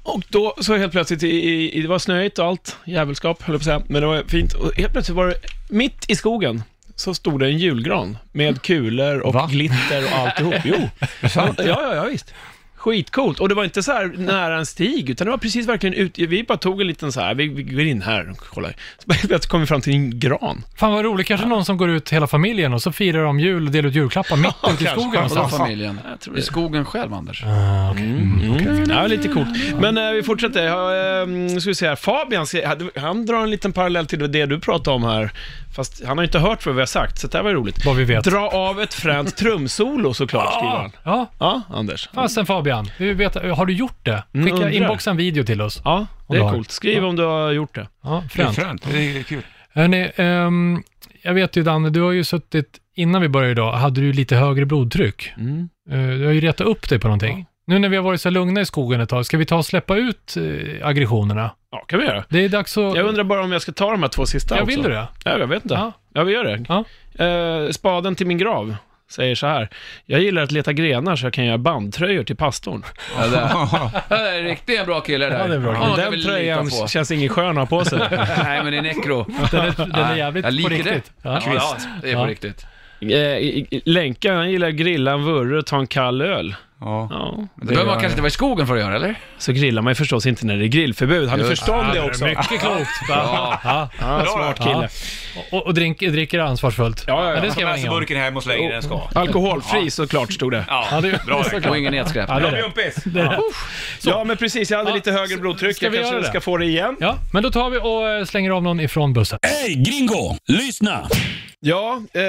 Och då så helt plötsligt, i, i, i- det var snöigt och allt, jävelskap höll jag på att säga, men det var fint. Och helt plötsligt var det, mitt i skogen, så stod det en julgran med kulor och glitter och alltihop. Jo, ja, ja, ja visst. Skitcoolt. Och det var inte så här nära en stig, utan det var precis verkligen ut. Vi bara tog en liten så här, vi, vi går in här och kollar. Så bara helt plötsligt kom vi fram till en gran.
Fan vad roligt, kanske någon som går ut hela familjen och så firar de jul och delar ut julklappar mitt ute i skogen
Och då
någonstans.
familjen. I skogen själv, Anders.
Ah, okej.
Mm, Ja, lite coolt. Men eh, vi fortsätter. Ja, eh, ska vi se här. Fabian, se- han drar en liten parallell till det du pratade om här. Fast han har inte hört vad vi har sagt, så det här var ju roligt.
Vad vi vet.
Dra av ett fränt trumsolo såklart, skriver han.
Ja,
Ja, Anders.
fasen Fabian. Vi vet, har du gjort det?
Mm,
Skicka
undrar.
inboxa en video till oss.
Ja, det
Om du
är
har.
coolt. Skriv om du har gjort det.
Ja,
Det är
fränt.
fränt. Det är kul.
Hörrni, ehm, jag vet ju Danne, du har ju suttit, innan vi började idag, hade du lite högre blodtryck.
Mm.
Eh, du har ju retat upp dig på någonting. Nu när vi har varit så lugna i skogen ett tag, ska vi ta och släppa ut eh, aggressionerna?
Ja, kan vi göra.
Det är dags att...
Jag undrar bara om jag ska ta de här två sista
Ja,
också.
vill du det?
Ja, jag vet inte.
Ja.
Ja, vi gör det.
Ja.
Eh, spaden till min grav säger så här. Jag gillar att leta grenar så jag kan göra bandtröjor till pastorn.
Ja, det det är riktigt en bra kille det där. Ja,
det är bra kille.
Honom kan vi
Den
lita
tröjan
på.
känns ingen skön att ha på sig.
Nej, men det är nekro.
Den är, den är jävligt
jag
på
liker det.
riktigt. Ja.
Ja, ja, det är på
Ja.
riktigt.
Eh, Länkan, han gillar att grilla en vurre och ta en kall öl.
Ja.
Ja.
Det behöver man
gör
kanske
jag.
inte vara i skogen för att göra, eller?
Så grillar man ju förstås inte när det är grillförbud. Han är
Just.
förståndig
Ja, det är
också.
Mycket klokt.
Ja.
Ja.
Ja, smart kille.
Och, och drink, dricker ansvarsfullt.
Ja, ja, ja.
Men det ska jag
Ta
vara
med sig
ingen om.
burken hem och släng i den ska.
Alkoholfri såklart, stod det.
Ja,
det-
bra
Och ingen nedskräp.
Ja, det är det.
Jumpis!
Ja, men precis. Jag hade
Ja,
lite högre
s-
blodtryck.
ska
jag
vi
kanske
göra det?
ska få det igen.
Ja, men då tar vi och eh, slänger av någon ifrån bussen.
Hej gringo! Lyssna!
Ja, eh,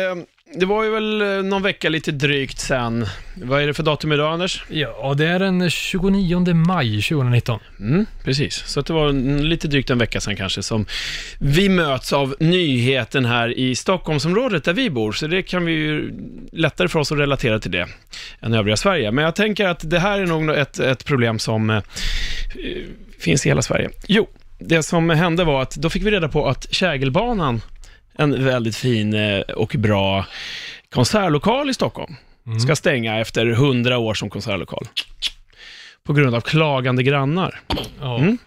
det var ju väl eh, någon vecka lite drygt sen. Vad är det för datum idag, Anders?
Ja, det är den 29 maj 2019.
Mm, precis. Så att det var en, lite drygt en vecka sen kanske som vi möts av nyheten här i Stockholmsområdet där vi bor. Så det kan vi ju lättare för oss att relatera till det än övriga Sverige. Men jag tänker att det här är nog ett, ett problem som eh, finns i hela Sverige. Jo, det som hände var att då fick vi reda på att Kägelbanan, en väldigt fin eh, och bra konsertlokal i Stockholm, ska stänga efter 100 år som konsertlokal. På grund av klagande grannar.
Ja.
Mm.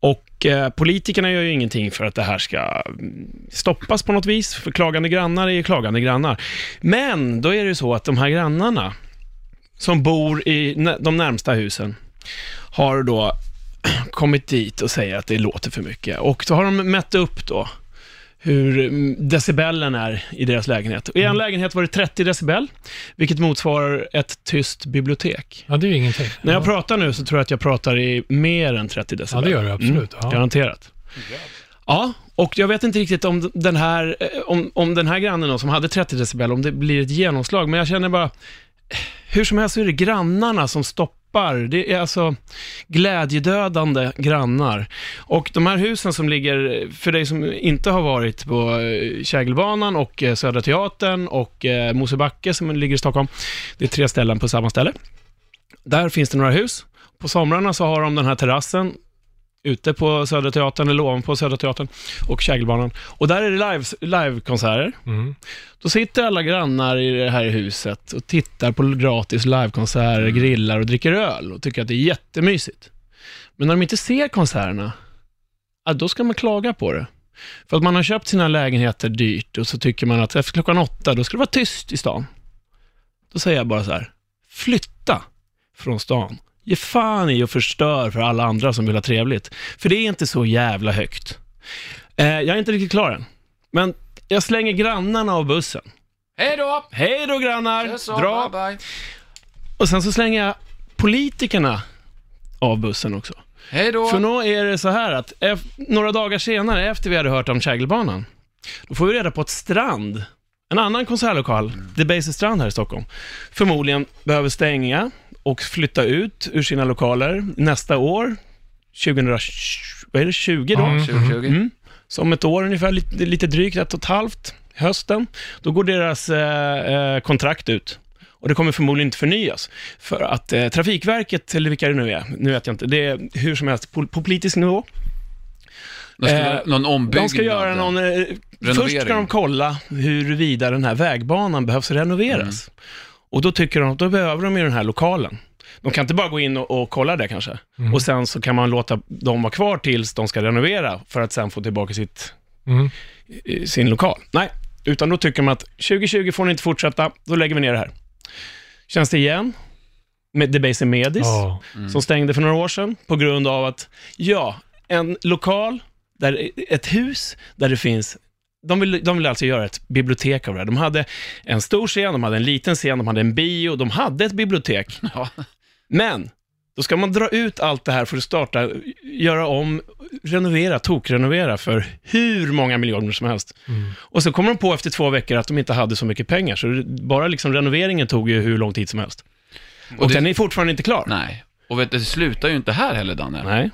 Och eh, politikerna gör ju ingenting för att det här ska mm, stoppas på något vis, för klagande grannar är ju klagande grannar. Men då är det ju så att de här grannarna som bor i nä- de närmsta husen har då kommit dit och säger att det låter för mycket. Och så har de mätt upp då hur mm, decibellen är i deras lägenhet. Och I en lägenhet var det 30 decibel, vilket motsvarar ett tyst bibliotek.
Ja, det är ju ingenting.
När jag pratar nu så tror jag att jag pratar i mer än 30 decibel.
Ja, det gör du absolut, ja.
Mm, Garanterat. Ja, och jag vet inte riktigt om den här, eh, om, om den här grannen då, som hade 30 decibel, om det blir ett genomslag, men jag känner bara, eh, hur som helst så är det grannarna som stoppar. Det är alltså glädjedödande grannar. Och de här husen som ligger, för dig som inte har varit på eh, Kägelbanan och eh, Södra Teatern och eh, Mosebacke som ligger i Stockholm, det är tre ställen på samma ställe. Där finns det några hus. På somrarna så har de den här terrassen ute på Södra Teatern, eller ovanpå Södra Teatern och Kägelbanan. Och där är det live- livekonserter.
Mm.
Då sitter alla grannar i det här huset och tittar på gratis livekonserter, grillar och dricker öl och tycker att det är jättemysigt. Men när de inte ser konserterna, ja, då ska man klaga på det. För att man har köpt sina lägenheter dyrt och så tycker man att efter klockan åtta, då ska det vara tyst i stan. Då säger jag bara så här, flytta från stan. Ge fan i och förstör för alla andra som vill ha trevligt. För det är inte så jävla högt. Eh, jag är inte riktigt klar än. Men jag slänger grannarna av bussen.
Hej då!
Hej då grannar,
Så,
dra.
Bye bye.
Och sen så slänger jag politikerna av bussen också.
Hej då!
För nu är det så här att ef- några dagar senare, efter vi hade hört om Kägelbanan, då får vi reda på att Strand, en annan konsertlokal,
Mm.
Debaser Strand här i Stockholm, förmodligen behöver stänga och flytta ut ur sina lokaler nästa år, 2020 vad är det, 20 då?
2020.
Mm. Så om ett år ungefär, lite, lite drygt ett och ett halvt, hösten, då går deras eh, eh, kontrakt ut. Och det kommer förmodligen inte förnyas. För att eh, Trafikverket, eller vilka det nu är, nu vet jag inte, det är hur som helst på, på politisk nivå.
Då ska det vara
Eh,
någon ombyggnad.
De ska göra någon... Eh, först ska de kolla huruvida den här vägbanan behövs renoveras. Och då tycker de att då behöver de ju den här lokalen. De kan inte bara gå in och, och kolla det kanske. Och sen så kan man låta dem vara kvar tills de ska renovera för att sen få tillbaka sitt
Mm.
i sin lokal. Nej, utan då tycker man att 2020 får ni inte fortsätta, då lägger vi ner det här. Känns det igen? Med Debaser Medis,
Ja.
Mm.
som stängde för några år sedan på grund av att, ja, en lokal, där, ett hus där det finns de ville, de ville alltså göra ett bibliotek av det här. De hade en stor scen, de hade en liten scen, de hade en bio, de hade ett bibliotek.
Ja.
Men, då ska man dra ut allt det här för att starta, göra om, renovera, tokrenovera för hur många miljoner som helst.
Mm.
Och så kommer de på efter två veckor att de inte hade så mycket pengar, så det- bara liksom renoveringen tog ju hur lång tid som helst. Och,
det-
den är fortfarande inte klar.
Nej. Och vet, du, det slutar ju inte här heller, Danne.
Nej,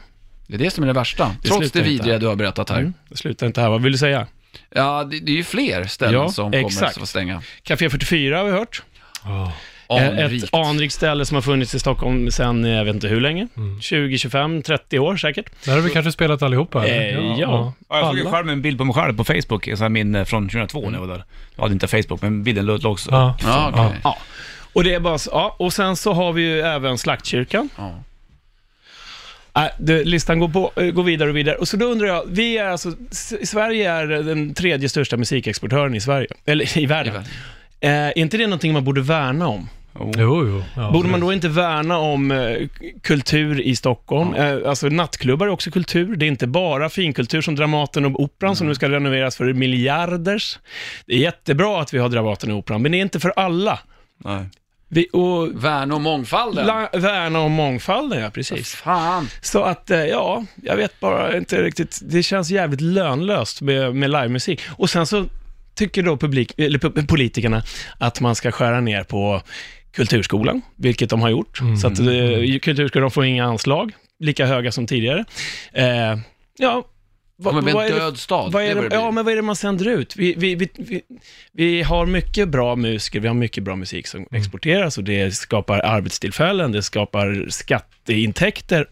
Det är det som är det värsta. Trots
slutar
det
inte
vidriga
här.
du har berättat här.
mm. det slutar inte här. Vad vill du säga?
Ja, det, det är ju fler ställen
Ja,
som kommer
exakt.
att få stänga.
Café 44 har vi hört.
Ja.
Anrikt.
Ett anrikt ställe som har funnits i Stockholm sedan, eh, jag vet inte hur länge, 20, 25, 30 år säkert.
Där har vi kanske spelat allihopa. eller?
Eh, ja.
Ja, jag såg ju
Alla.
själv en bild på mig själv på Facebook, en sån här minne från 2002 när jag var där. Jag hade inte Facebook, men bilden låg låg så.
Ja.
Ja, okej.
Ja. Och det är bara så, ja. Och sen så har vi ju även Slaktkyrkan.
Ja.
Äh, det, listan går, på, eh, går vidare och vidare. Och så då undrar jag, vi är alltså, S- Sverige är den tredje största musikexportören i Sverige, eller i världen. Eh, är inte det någonting man borde värna om?
Jo, jo. Ja,
Borde man då inte värna om eh, k- kultur i Stockholm? Eh, alltså nattklubbar är också kultur. Det är inte bara finkultur som Dramaten och Operan som nu ska renoveras för miljarders. Det är jättebra att vi har Dramaten och Operan, men det är inte för alla.
Nej.
Vi, och
Värna om mångfalden.
la, värna om mångfalden, ja precis.
Fan.
Så att, eh, ja, jag vet bara inte riktigt. Det känns jävligt lönlöst med, med livemusik. Och sen så tycker då publik, eller pu- politikerna att man ska skära ner på kulturskolan, vilket de har gjort. Så att eh, kulturskolan får inga anslag, lika höga som tidigare. Eh, ja,
Det
vad,
kommer bli en
vad är det-
död stad.
vad är
det
det,
börjar bli.
ja, men vad är det man sänder ut? Vi, vi, vi, vi, vi har mycket bra musiker, vi har mycket bra musik som exporteras och det skapar arbetstillfällen, det skapar skatteintäkter,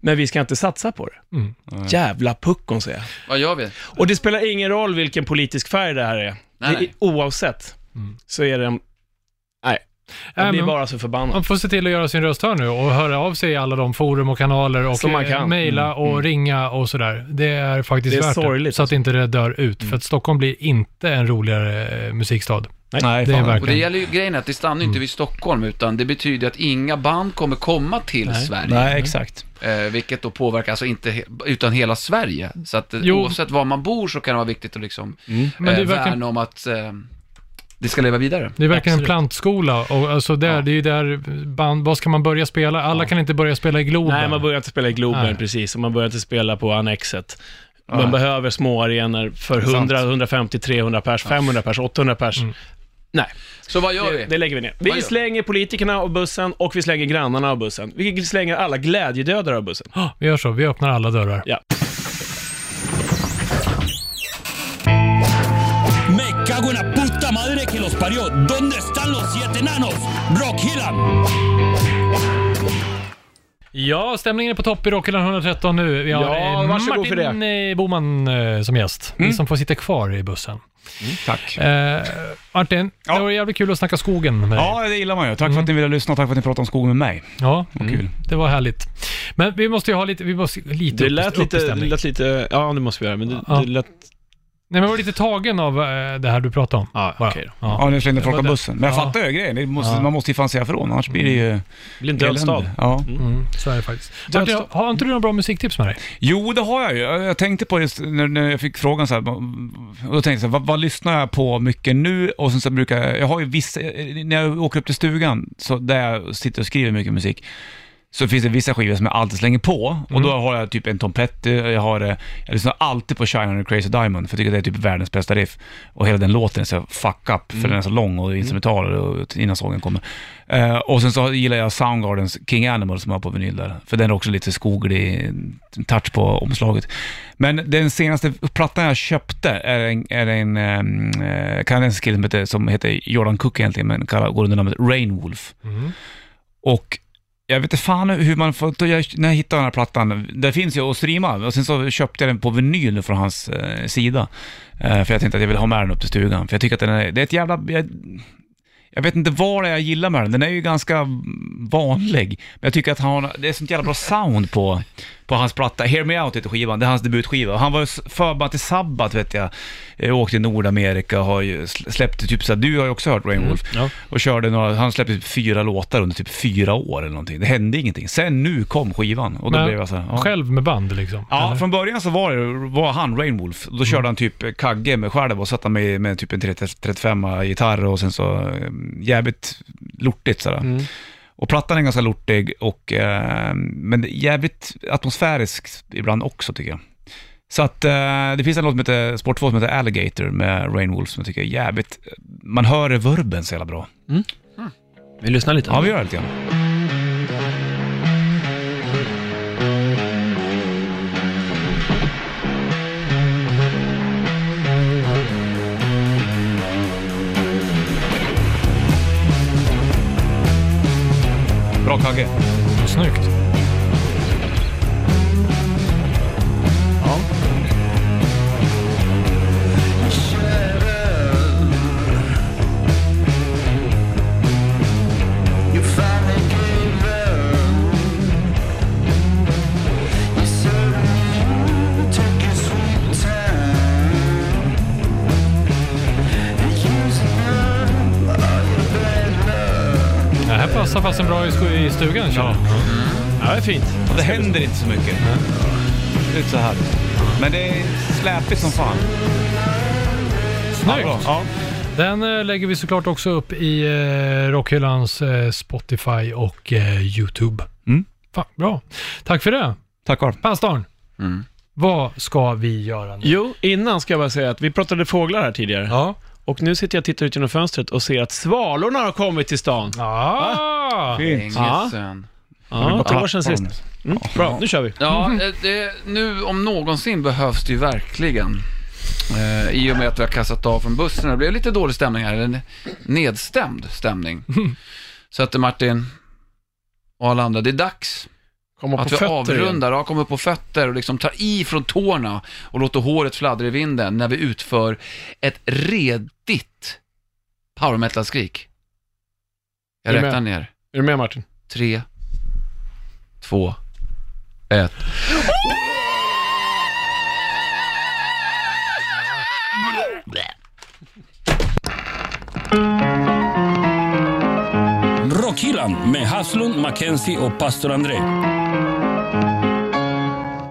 men vi ska inte satsa på det.
Mm.
Jävla puckon, säger jag.
Vad gör vi?
Och det spelar ingen roll vilken politisk färg det här är.
Nej,
Det är
nej.
oavsett så är det... en- Nej, Jag blir
men-
bara så förbannad.
Man får se till att göra sin röst hörd nu och höra av sig i alla de forum och kanaler och
Som man
eh,
kan. Mm,
mejla och ringa och sådär. Det är faktiskt
Det är
värt
sorgligt
det. Så att
alltså.
inte det dör ut. För att Stockholm blir inte en roligare eh, musikstad.
Nej,
det är
fan.
verkligen.
Och det gäller ju grejen är att det stannar
Mm.
ju inte vid Stockholm, utan det betyder att inga band kommer komma till Sverige.
Nej, exakt.
Eh, vilket då påverkar alltså inte, he- utan hela Sverige. Så att eh,
Jo.
oavsett var man bor så kan det vara viktigt att liksom
Men det
eh,
är verkligen-
värna om att eh, det ska leva vidare.
Det är verkligen
Absolut.
en plantskola och alltså där, det är ju där band, vad ska man börja spela? Alla kan inte börja spela i Globen.
Nej, man börjar inte spela i Globen
Nej.
precis, och man börjar inte spela på Annexet. Man behöver små arenor för 100, 150, 300 pers, 500 pers, 800 pers.
Mm.
Nej,
Så vad gör
det,
vi?
det lägger vi ner.
Vad
Vi
gör-
slänger politikerna av bussen och vi slänger grannarna av bussen. Vi slänger alla glädjedödare av bussen.
Vi gör så, vi öppnar alla dörrar.
Ja.
Me cago en la puta madre que los parió. ¿Dónde están los siete enanos? Rock Hillan.
Ja, stämningen är på topp i Rockhyllan 113 nu. Vi har
Ja,
eh,
varsågod
Martin
för det. Mm.
eh, Boman eh, som gäst. Ni som får sitta kvar i bussen.
Tack.
Eh, Martin,
Ja.
det var jävligt kul att snacka skogen med dig.
Ja, det gillar man ju. Tack för
mm.
att ni ville lyssna och tack för att ni pratade om skogen med mig.
Ja, Mm.
Vad kul.
det var härligt. Men vi måste ju ha lite, vi måste lite
Det
upp-
lät
upp i
lite, det
stämning.
lät lite, ja det måste vi göra, men det,
Ja.
det lät,
Nej men jag var lite tagen av eh, det här du pratade om.
ja
bara.
okej då.
Ja,
ja.
nu slängde folk
Det
av
var det.
bussen. Men jag
Ja.
fattar ju grejen. Det måste,
Ja.
Man måste ju fan säga ifrån, annars blir det ju...
Det blir en död stad.
elände. Ja.
Mm, så är det faktiskt. Martin,
Dödsdom.
har inte du några bra musiktips med dig?
Jo, det har jag ju. Jag jag tänkte på just när, när jag fick frågan så här, och då tänkte jag så här, vad, vad lyssnar jag på mycket nu? Och sen så brukar jag, jag har ju vissa, när jag åker upp till stugan, så där jag sitter och skriver mycket musik, så finns det vissa skivor som jag alltid slänger på. Och då har jag typ en Tom Petty, jag har, eh, jag lyssnar alltid på Shine on a Crazy Diamond, för jag tycker det är typ världens bästa riff. Och hela den låten är så fuck up, för den är så lång och instrumental och innan sången kommer. Eh, och sen så gillar jag Soundgardens King Animal som jag har på vinyl där, för den är också lite skoglig touch på omslaget. Men den senaste plattan jag köpte är en, är en ehm, eh, kanadensisk kille som heter, som heter Jordan Cook egentligen, men kallar, går under namnet Rainwolf. Och jag vet inte fan hur man får, då jag, när jag hittade den här plattan, den finns ju att streama och sen så köpte jag den på vinyl från hans eh, sida. Eh, för jag tänkte att jag vill ha med den upp till stugan, för jag tycker att den är, det är ett jävla, jag, jag vet inte vad det är jag gillar med den, den är ju ganska vanlig. Men jag tycker att han, har- det är sånt jävla bra sound på, på hans platta. Hear Me Out heter skivan, det är hans debutskiva. Han var ju s- förband till Sabbath vet jag. jag åkte till Nordamerika och har ju sl- släppt typ såhär, du har ju också hört Rainwolf.
Mm,
ja.
Och körde några, han släppte typ fyra låtar under typ fyra år eller någonting. Det hände ingenting. Sen nu kom skivan och då
Men
blev jag såhär... Ja.
Själv med band liksom?
Ja,
eller?
från början så var, det, var han Rainwolf. Då körde han typ kagge med själv och satt han med, med typ en 35-gitarr och sen så eh, jävligt lortigt sådär. Och plattan är ganska lortig, och, eh, men jävligt atmosfärisk ibland också tycker jag. Så att eh, det finns en låt som heter, Sport 2 som heter Alligator med Rainwolf som jag tycker är jävligt, man hör reverben så jävla bra.
Vi lyssnar lite.
Ja, vi gör det lite grann. Bra Kagge.
Snyggt.
You finally gave up. You certainly took your sweet time. Accusing up all your bad love.
Det här passar fasen bra i, sko- i stugan känner jag.
Mm.
Ja, det är fint.
Och det händer inte så mycket. Det är så här. Men det är släpigt som fan.
Snyggt!
Bra. Ja.
Den eh, lägger vi såklart också upp i eh, Rockhyllans eh, Spotify och eh, YouTube.
Mm.
Fan, bra. Tack för det.
Tack Carl.
Pastorn, vad ska vi göra nu?
Jo, innan ska jag bara säga att vi pratade fåglar här tidigare.
Ja.
Och nu sitter jag och tittar ut genom fönstret och ser att svalorna har kommit till stan.
Ah!
Fint.
Engelsön.
Ja, ett år sedan sist. Mm, bra, nu kör vi.
Ja, eh, det, nu om någonsin behövs det ju verkligen. Eh, I och med att vi har kastat av från bussen. Det blev lite dålig stämning här, eller nedstämd stämning. Så att eh, Martin och alla andra, det är dags
Komma på
att vi
fötter igen.
avrundar, ja, kommer på fötter och liksom tar i från tårna och låter håret fladdra i vinden när vi utför ett redigt power metal-skrik. Jag
Är du
räknar
med?
ner.
Är du med Martin?
Tre, två, ett.
Rockhyllan med Haslund, Mackenzie och pastor André.